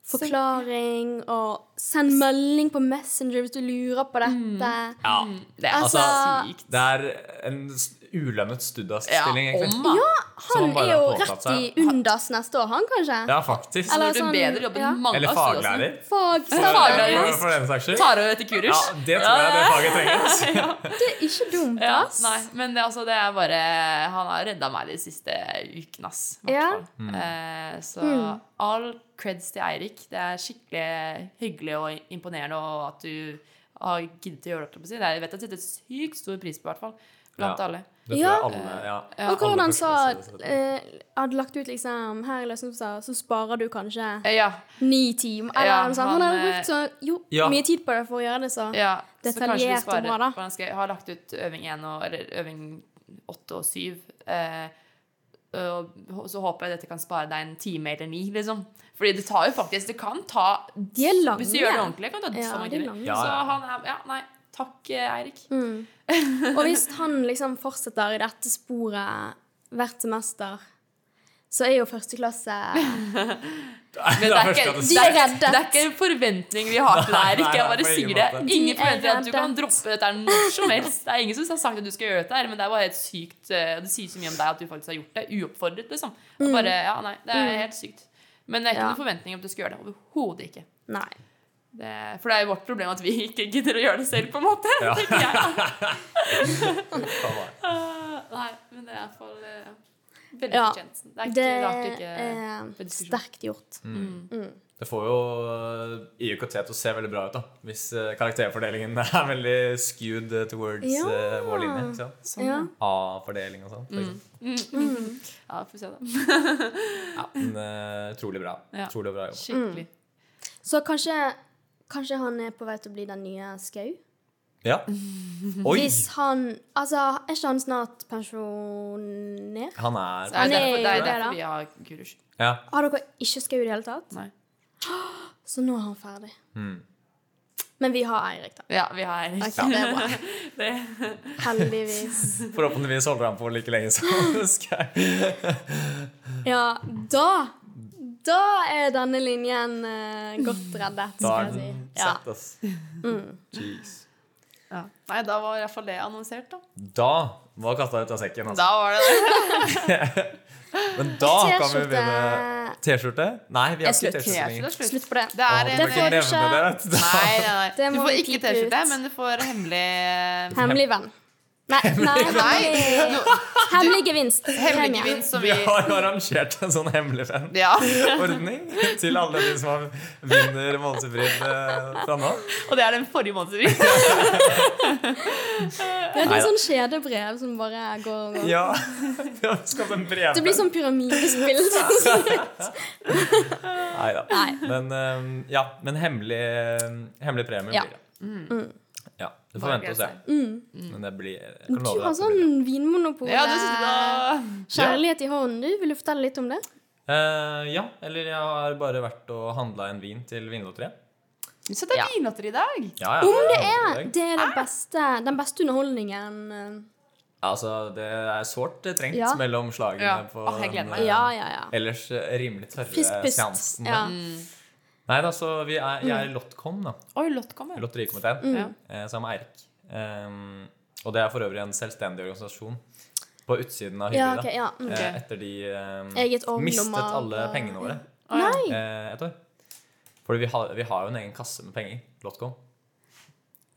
[SPEAKER 1] Forklaring og Send melding på Messenger hvis du lurer på
[SPEAKER 3] Mm.
[SPEAKER 1] dette.
[SPEAKER 2] Ja.
[SPEAKER 3] det er
[SPEAKER 1] altså,
[SPEAKER 3] sykt.
[SPEAKER 2] Det er en s- ulønnet
[SPEAKER 3] Ja,
[SPEAKER 2] studiastilling, egentlig.
[SPEAKER 3] om, ja.
[SPEAKER 2] Som
[SPEAKER 1] Han
[SPEAKER 2] bare
[SPEAKER 1] er jo
[SPEAKER 2] har påtatt
[SPEAKER 1] rett i undas neste år, han kanskje?
[SPEAKER 2] Ja, faktisk.
[SPEAKER 1] Eller-
[SPEAKER 2] Eller,
[SPEAKER 3] Gjorde
[SPEAKER 1] sånn,
[SPEAKER 3] en bedre jobb enn
[SPEAKER 1] ja.
[SPEAKER 3] mange av studentene.
[SPEAKER 2] faglærer.
[SPEAKER 1] Fag,
[SPEAKER 3] sånn. Faglærer.
[SPEAKER 2] For, for den saks skyld.
[SPEAKER 3] Tar over etter kurs.
[SPEAKER 2] Ja, det tror jeg det faget trenger.
[SPEAKER 1] Det er ikke dumt,
[SPEAKER 3] Ja,
[SPEAKER 1] ass.
[SPEAKER 3] nei, men det, altså, det er bare Han har redda meg de siste ukene, ass. i hvert
[SPEAKER 1] Ja.
[SPEAKER 3] fall. Eh, så
[SPEAKER 1] Hmm.
[SPEAKER 3] all creds til Eirik. Det er skikkelig hyggelig og imponerende og at du har giddet å gjøre det. holdt jeg på å si. Det er- Jeg vet at jeg setter sykt stor pris på, i hvert fall. Blant
[SPEAKER 2] Ja.
[SPEAKER 3] alle.
[SPEAKER 2] Det tror
[SPEAKER 1] Ja.
[SPEAKER 2] jeg alle, ja.
[SPEAKER 1] og
[SPEAKER 2] alle
[SPEAKER 1] hvordan han sa
[SPEAKER 2] forskere
[SPEAKER 1] at
[SPEAKER 2] sier det.
[SPEAKER 1] eh, hadde lagt ut liksom Her i løsningsforslaget så sparer du kanskje
[SPEAKER 3] Eh, Ja.
[SPEAKER 1] ni timer. Eller
[SPEAKER 3] Ja,
[SPEAKER 1] noe sånt. Han
[SPEAKER 3] han,
[SPEAKER 1] hadde
[SPEAKER 3] eh,
[SPEAKER 1] brukt så jo,
[SPEAKER 2] ja.
[SPEAKER 1] mye tid på det for å gjøre det, så
[SPEAKER 3] ja. Så kanskje vi
[SPEAKER 1] Detaljert og
[SPEAKER 3] svarer
[SPEAKER 1] bra, da.
[SPEAKER 3] på ganske- Har lagt ut øving 1 og Eller øving 8 og 7. Eh, og så håper jeg dette kan spare deg en time eller ni, liksom. Fordi det tar jo faktisk Det kan ta
[SPEAKER 1] De er lange.
[SPEAKER 3] Hvis du gjør det ordentlig, kan det ta
[SPEAKER 1] Ja,
[SPEAKER 3] så mange
[SPEAKER 1] de er
[SPEAKER 3] timer.
[SPEAKER 1] lange.
[SPEAKER 2] Ja, ja.
[SPEAKER 3] Så han er Ja, nei. Takk, eh, Eirik.
[SPEAKER 1] Og hvis han liksom fortsetter i dette sporet hvert semester, så er jo førsteklasse
[SPEAKER 2] Det
[SPEAKER 3] Men det er ikke,
[SPEAKER 2] første at
[SPEAKER 1] De
[SPEAKER 3] det
[SPEAKER 1] er
[SPEAKER 3] er,
[SPEAKER 1] reddet.
[SPEAKER 3] det er ikke en forventning vi har til deg, Eirik. Jeg
[SPEAKER 2] Nei, nei,
[SPEAKER 3] bare
[SPEAKER 2] på ingen
[SPEAKER 3] sier det.
[SPEAKER 2] måte.
[SPEAKER 1] De
[SPEAKER 3] Ingen
[SPEAKER 1] er
[SPEAKER 3] forventer at du kan
[SPEAKER 1] reddet.
[SPEAKER 3] droppe dette her når som helst. Det er ingen som har sagt at du skal gjøre dette, her, men det er bare helt sykt eh, Det sier så mye om deg at du faktisk har gjort det uoppfordret, liksom. Og bare, ja, nei, det er helt sykt. Men det er ikke
[SPEAKER 1] Mm. Ja.
[SPEAKER 3] noen forventning om at du skal gjøre det. Overhodet ikke.
[SPEAKER 1] Nei.
[SPEAKER 3] Det, for det er jo vårt problem at vi ikke gidder å gjøre det selv, på en måte.
[SPEAKER 2] Ja.
[SPEAKER 3] tenker jeg.
[SPEAKER 2] det-
[SPEAKER 3] Ah, nei, men det er i hvert fall eh, veldig
[SPEAKER 1] Ja.
[SPEAKER 3] fortjent. Det er ikke
[SPEAKER 1] Det
[SPEAKER 3] rart du ikke
[SPEAKER 1] er
[SPEAKER 3] på diskusjon.
[SPEAKER 1] sterkt gjort.
[SPEAKER 2] Det får jo eh, IUKT til å se veldig bra ut, da. Hvis eh, karakterfordelingen er veldig skewed towards
[SPEAKER 1] Ja.
[SPEAKER 2] eh, vår linje. ikke sant?
[SPEAKER 3] Sånn,
[SPEAKER 1] Ja. Mm.
[SPEAKER 2] A-fordeling og sånn. for
[SPEAKER 3] Mm.
[SPEAKER 2] eksempel.
[SPEAKER 3] ja, får se, da.
[SPEAKER 2] Ja, men eh, utrolig bra.
[SPEAKER 3] Ja.
[SPEAKER 2] Utrolig bra jobb.
[SPEAKER 1] Mm.
[SPEAKER 3] Skikkelig.
[SPEAKER 1] Så kanskje, kanskje han er på vei til å bli den nye Skau?
[SPEAKER 2] Ja. Mhm. Oi!
[SPEAKER 1] Hvis han Altså, er ikke han snart pensjonert?
[SPEAKER 2] Han er
[SPEAKER 3] Det er
[SPEAKER 1] Han er
[SPEAKER 3] derfor, det
[SPEAKER 1] jo
[SPEAKER 3] er
[SPEAKER 1] det,
[SPEAKER 3] derfor
[SPEAKER 1] da.
[SPEAKER 3] vi har kurs.
[SPEAKER 2] Ja.
[SPEAKER 1] Har dere ikke Skau i det hele tatt?
[SPEAKER 3] Nei.
[SPEAKER 2] Mm.
[SPEAKER 1] Så nå er han ferdig. Men vi har Eirik, da.
[SPEAKER 3] Ja, vi har Eirik.
[SPEAKER 1] Ok, det er bra.
[SPEAKER 3] Det-
[SPEAKER 1] Heldigvis.
[SPEAKER 2] Forhåpentligvis holder han på like lenge som Sky.
[SPEAKER 1] Ja, da Da er denne linjen eh, godt reddet,
[SPEAKER 2] Da
[SPEAKER 1] skal jeg
[SPEAKER 2] er
[SPEAKER 1] si.
[SPEAKER 2] den
[SPEAKER 1] Ja.
[SPEAKER 2] sett, ass. Jeez.
[SPEAKER 3] ja. Nei, da var i hvert fall det annonsert, da.
[SPEAKER 2] Da var katta ut av sekken, altså.
[SPEAKER 3] Da var det det.
[SPEAKER 2] Men da kan vi
[SPEAKER 1] T-skjorte.
[SPEAKER 2] begynne T-skjorte? Nei, vi
[SPEAKER 1] Er
[SPEAKER 2] har ikke
[SPEAKER 1] slutt.
[SPEAKER 2] T-skjorte lenger.
[SPEAKER 3] Slutt.
[SPEAKER 1] Slutt på det.
[SPEAKER 3] Det er
[SPEAKER 2] Å,
[SPEAKER 1] Det får du
[SPEAKER 2] må ikke
[SPEAKER 3] en
[SPEAKER 2] nevne det, vet du.
[SPEAKER 3] Nei,
[SPEAKER 1] Det
[SPEAKER 3] nei, nei. Du
[SPEAKER 1] må
[SPEAKER 3] får
[SPEAKER 1] vi
[SPEAKER 3] ikke
[SPEAKER 1] pipe ut.
[SPEAKER 3] T-skjorte, men du får hemmelig
[SPEAKER 1] Hemmelig venn. Nei, nei hemmelig, hemmelig gevinst.
[SPEAKER 3] Hemmelig
[SPEAKER 1] Premie.
[SPEAKER 3] gevinst som
[SPEAKER 2] Vi
[SPEAKER 3] vi
[SPEAKER 2] har jo arrangert en sånn hemmelig
[SPEAKER 3] Ja.
[SPEAKER 2] fan-ordning til alle de som har- vinner månedsfrid eh, fra nå.
[SPEAKER 3] Og det er den forrige måneden.
[SPEAKER 1] Det er et
[SPEAKER 2] Neida.
[SPEAKER 1] sånn kjedebrev som bare går og går.
[SPEAKER 2] Ja, vi har skapt en breve.
[SPEAKER 1] Det blir sånn pyramidespill.
[SPEAKER 2] Neida.
[SPEAKER 1] Nei.
[SPEAKER 2] Men, eh, ja, men hemmelig, ehm, hemmelig premie
[SPEAKER 1] Ja. Mm.
[SPEAKER 2] blir det.
[SPEAKER 3] Mm.
[SPEAKER 2] Ja, du får vente og se. Men det blir jeg kan
[SPEAKER 1] Du har
[SPEAKER 2] love deg at det blir bra.
[SPEAKER 1] sånn vinmonopol.
[SPEAKER 3] Ja, du sitter da
[SPEAKER 1] Kjærlighet i hånden, du. Vil du fortelle litt om det?
[SPEAKER 2] Eh, ja, eller jeg har bare vært og handla en vin til Vinlotteriet.
[SPEAKER 3] Så det er vinlotteri i dag.
[SPEAKER 2] Ja, ja.
[SPEAKER 1] Om det
[SPEAKER 2] handlet
[SPEAKER 1] er!
[SPEAKER 2] i dag.
[SPEAKER 1] Det er den beste, den beste underholdningen. eh,
[SPEAKER 2] Altså, det er sårt trengt
[SPEAKER 1] Ja.
[SPEAKER 2] mellom slagene
[SPEAKER 3] Ja.
[SPEAKER 2] på
[SPEAKER 3] Åh, jeg
[SPEAKER 2] den,
[SPEAKER 3] gleder meg.
[SPEAKER 1] eh,
[SPEAKER 2] eh,
[SPEAKER 1] Ja, ja, ja.
[SPEAKER 2] ellers eh, rimelig
[SPEAKER 1] Frisk
[SPEAKER 2] tørre
[SPEAKER 1] pust.
[SPEAKER 2] seansen. Mm.
[SPEAKER 1] Ja. Mm.
[SPEAKER 2] Nei da, så vi er, jeg er i Lotcom, da.
[SPEAKER 3] Oi, Lott kommer.
[SPEAKER 2] Lotterikomiteen.
[SPEAKER 3] Ja.
[SPEAKER 2] eh, Sammen med Eirik. Um, og det er for øvrig en selvstendig organisasjon på utsiden av
[SPEAKER 1] ja,
[SPEAKER 2] Hyggelig.
[SPEAKER 1] ok, ja.
[SPEAKER 2] da.
[SPEAKER 1] Mm.
[SPEAKER 2] Eh, etter de um,
[SPEAKER 1] Eget Mm. ovn,
[SPEAKER 2] mistet
[SPEAKER 1] nummer,
[SPEAKER 2] alle
[SPEAKER 1] og-
[SPEAKER 2] pengene våre
[SPEAKER 3] Å, ja.
[SPEAKER 1] Nei!
[SPEAKER 2] eh, et år. Fordi vi har, vi har jo en egen kasse med penger. Lotcom.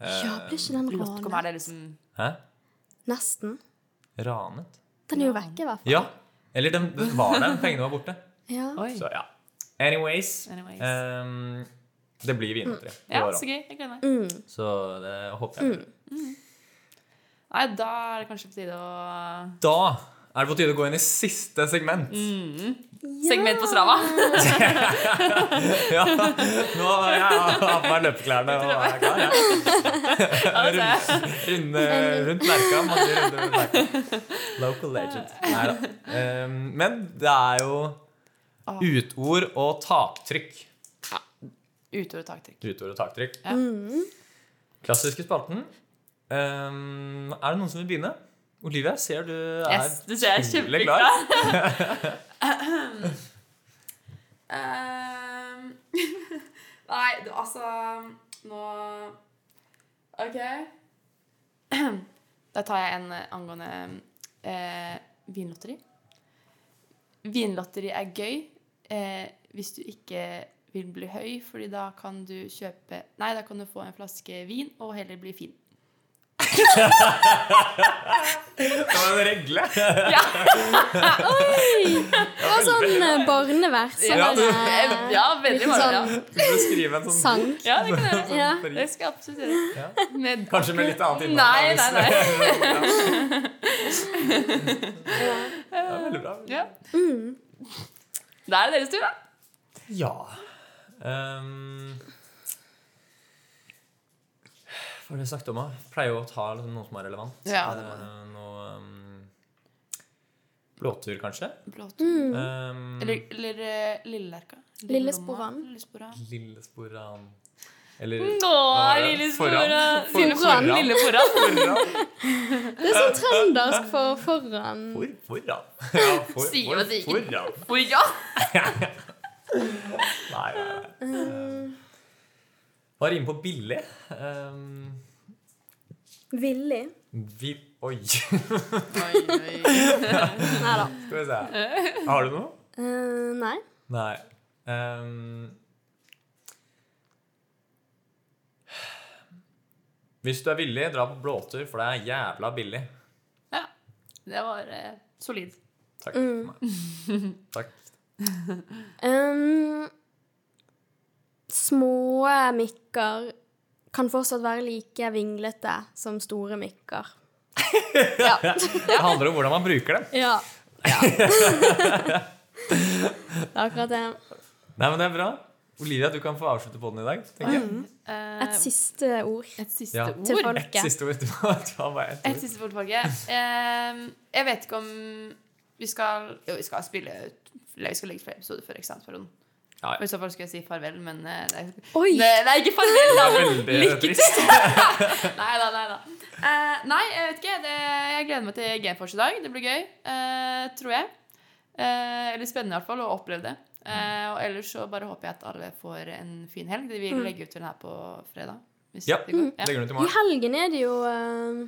[SPEAKER 2] Eh,
[SPEAKER 1] Ja, blir ikke den
[SPEAKER 3] Lotcom,
[SPEAKER 1] ranet?
[SPEAKER 3] er det liksom
[SPEAKER 2] Hæ?
[SPEAKER 1] Nesten.
[SPEAKER 2] Ranet?
[SPEAKER 1] Den er jo vekke, i hvert fall.
[SPEAKER 2] Ja. Eller den, den var der, pengene var borte.
[SPEAKER 1] Ja.
[SPEAKER 3] Oi.
[SPEAKER 2] Så ja. Anyways,
[SPEAKER 3] Anyways.
[SPEAKER 2] ehm, det blir vinlotteri i
[SPEAKER 3] Ja,
[SPEAKER 2] år
[SPEAKER 3] så
[SPEAKER 2] òg,
[SPEAKER 3] gøy. Jeg gleder meg.
[SPEAKER 1] Mm.
[SPEAKER 2] så det håper jeg.
[SPEAKER 3] Nei, da er det kanskje på tide å
[SPEAKER 2] Da er det på tide å gå inn i siste segment.
[SPEAKER 3] Segment på Strava.
[SPEAKER 2] Ja, nå har jeg har på meg løpeklærne og er klar. Ja. Runde rundt merka. Mange runder rundt merka. Local legend. Nei da. Ehm, men det er jo utord og taktrykk.
[SPEAKER 3] Utøver taktikk.
[SPEAKER 2] Utord og taktrykk.
[SPEAKER 3] Ja.
[SPEAKER 2] Klassiske spalten. Ehm, er det noen som vil begynne? Olivia, ser du er
[SPEAKER 3] Yes, du ser jeg er
[SPEAKER 2] utrolig
[SPEAKER 3] kjempeklar. Ehm, Nei, du, altså Nå OK. Da tar jeg en eh, angående eh, vinlotteri. Vinlotteri er gøy eh, hvis du ikke vil bli høy, fordi da kan du kjøpe Nei, da kan du få en flaske vin og heller bli fin.
[SPEAKER 2] Det var en regle.
[SPEAKER 1] Det var sånn eh, barnevers. Sånn,
[SPEAKER 2] Ja, du-
[SPEAKER 1] eh,
[SPEAKER 3] Ja, veldig
[SPEAKER 1] Litt
[SPEAKER 3] bra. Ja.
[SPEAKER 1] sånn
[SPEAKER 2] Du burde skrive en sånn
[SPEAKER 1] sang.
[SPEAKER 3] ja, det kan jeg gjøre.
[SPEAKER 2] sånn
[SPEAKER 1] Ja.
[SPEAKER 2] fri-
[SPEAKER 3] Det skal jeg absolutt gjøre.
[SPEAKER 2] Ja.
[SPEAKER 3] Med,
[SPEAKER 2] Kanskje med litt annet innhold.
[SPEAKER 3] Nei, nei, nei.
[SPEAKER 2] Det er veldig bra.
[SPEAKER 3] Ja. Da er det deres tur, da.
[SPEAKER 2] Ja. Ehm, hva var det jeg snakket om? da? Jeg Pleier jo å ta liksom noe som er relevant.
[SPEAKER 3] Ja, det må
[SPEAKER 2] Eh, noe ehm, blåtur, kanskje.
[SPEAKER 1] Mm.
[SPEAKER 2] Ehm,
[SPEAKER 3] Mm. Eller, eller eh, Lillelerka.
[SPEAKER 1] Lillesporan.
[SPEAKER 3] Lillesporan.
[SPEAKER 2] Lillesporan Eller
[SPEAKER 3] Mm, Nå
[SPEAKER 2] Hva var
[SPEAKER 3] er
[SPEAKER 2] det?
[SPEAKER 3] Lillesporan
[SPEAKER 2] Foran.
[SPEAKER 3] Foran.
[SPEAKER 1] Foran.
[SPEAKER 3] Lilleforan.
[SPEAKER 2] Foran.
[SPEAKER 1] Det er sånn trøndersk for foran.
[SPEAKER 2] For, foran. Ja, for,
[SPEAKER 3] Sier
[SPEAKER 2] for,
[SPEAKER 3] man det ikke?
[SPEAKER 2] foran.
[SPEAKER 3] Hvor ja!
[SPEAKER 2] Nei, nei, nei.
[SPEAKER 3] Mm.
[SPEAKER 2] Var inne på billig. Ehm,
[SPEAKER 1] Villig.
[SPEAKER 2] vi, oi, skal
[SPEAKER 3] Oi, oi.
[SPEAKER 1] Nei da.
[SPEAKER 2] vi se. Har du noe?
[SPEAKER 1] Eh, nei.
[SPEAKER 2] Nei. Ehm, hvis du er villig, dra på blåtur, for det er jævla billig.
[SPEAKER 3] Ja. Det var eh, solid.
[SPEAKER 2] Takk. for meg. Takk.
[SPEAKER 1] Um, små mikker kan fortsatt være like vinglete som store mikker. Ja.
[SPEAKER 2] Det handler om hvordan man bruker dem.
[SPEAKER 1] ja. det er akkurat det.
[SPEAKER 2] Nei, men Det er bra. Olivia, du kan få avslutte på den i dag. tenker jeg.
[SPEAKER 3] Eh,
[SPEAKER 1] Mm. Et siste ord
[SPEAKER 3] et siste
[SPEAKER 2] Ja.
[SPEAKER 3] ord.
[SPEAKER 1] til
[SPEAKER 2] Et
[SPEAKER 1] folket.
[SPEAKER 2] siste ord. Det var det var bare ett
[SPEAKER 3] Et
[SPEAKER 2] ord.
[SPEAKER 3] siste fotballfag. Eh, jeg vet ikke om vi skal Jo, vi skal spille ut eller Vi skal legge ut flere episoder før eksamensperioden.
[SPEAKER 2] Ja, ja.
[SPEAKER 3] Og I så fall skulle jeg si farvel, men eh, det er,
[SPEAKER 1] Oi!
[SPEAKER 3] det, det er ikke farvel, da. men
[SPEAKER 2] Veldig
[SPEAKER 3] Lykke til!
[SPEAKER 2] trist.
[SPEAKER 3] nei da, nei da. Eh, nei, jeg vet ikke. Det, jeg gleder meg til GFors i dag. Det blir gøy, eh, tror jeg. Eh, eller spennende i hvert fall å oppleve det. Eh, og ellers så bare håper jeg at alle får en fin helg. Vi
[SPEAKER 1] Mm.
[SPEAKER 3] vil legge ut den her på fredag. Hvis
[SPEAKER 2] Ja,
[SPEAKER 3] det, går.
[SPEAKER 2] Legger du den til
[SPEAKER 1] I
[SPEAKER 2] morgen?
[SPEAKER 1] helgen er det jo eh,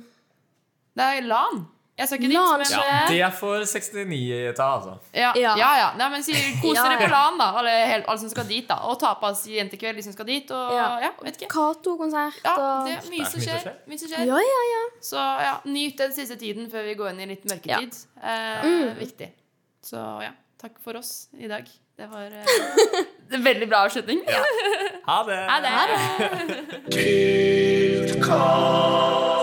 [SPEAKER 3] det er LAN. Jeg skal ikke
[SPEAKER 1] LAN,
[SPEAKER 3] dit,
[SPEAKER 2] Ja,
[SPEAKER 3] men eh,
[SPEAKER 2] det er for 69-ta, altså.
[SPEAKER 3] Ja, ja.
[SPEAKER 1] Ja.
[SPEAKER 3] ja. Nei, men sier, kos
[SPEAKER 1] Ja,
[SPEAKER 3] dere
[SPEAKER 1] ja.
[SPEAKER 3] på LAN, da. Alle, hel- alle som skal dit, da. Og tapas i jentekveld, de som skal dit. Og ja,
[SPEAKER 1] Ja.
[SPEAKER 3] vet ikke.
[SPEAKER 1] Cato-konsert
[SPEAKER 3] Ja,
[SPEAKER 1] og
[SPEAKER 3] det er mye som
[SPEAKER 2] Det er mye som
[SPEAKER 3] skjer.
[SPEAKER 2] skjer.
[SPEAKER 3] Mye som skjer.
[SPEAKER 1] Ja, ja, ja.
[SPEAKER 3] Så ja, nyt den siste tiden før vi går inn i litt mørketid. Eh, Viktig. Så ja, takk for oss i dag. Det var eh, det er veldig bra avslutning.
[SPEAKER 2] Ha det!
[SPEAKER 3] Ha det.
[SPEAKER 4] Cult Call.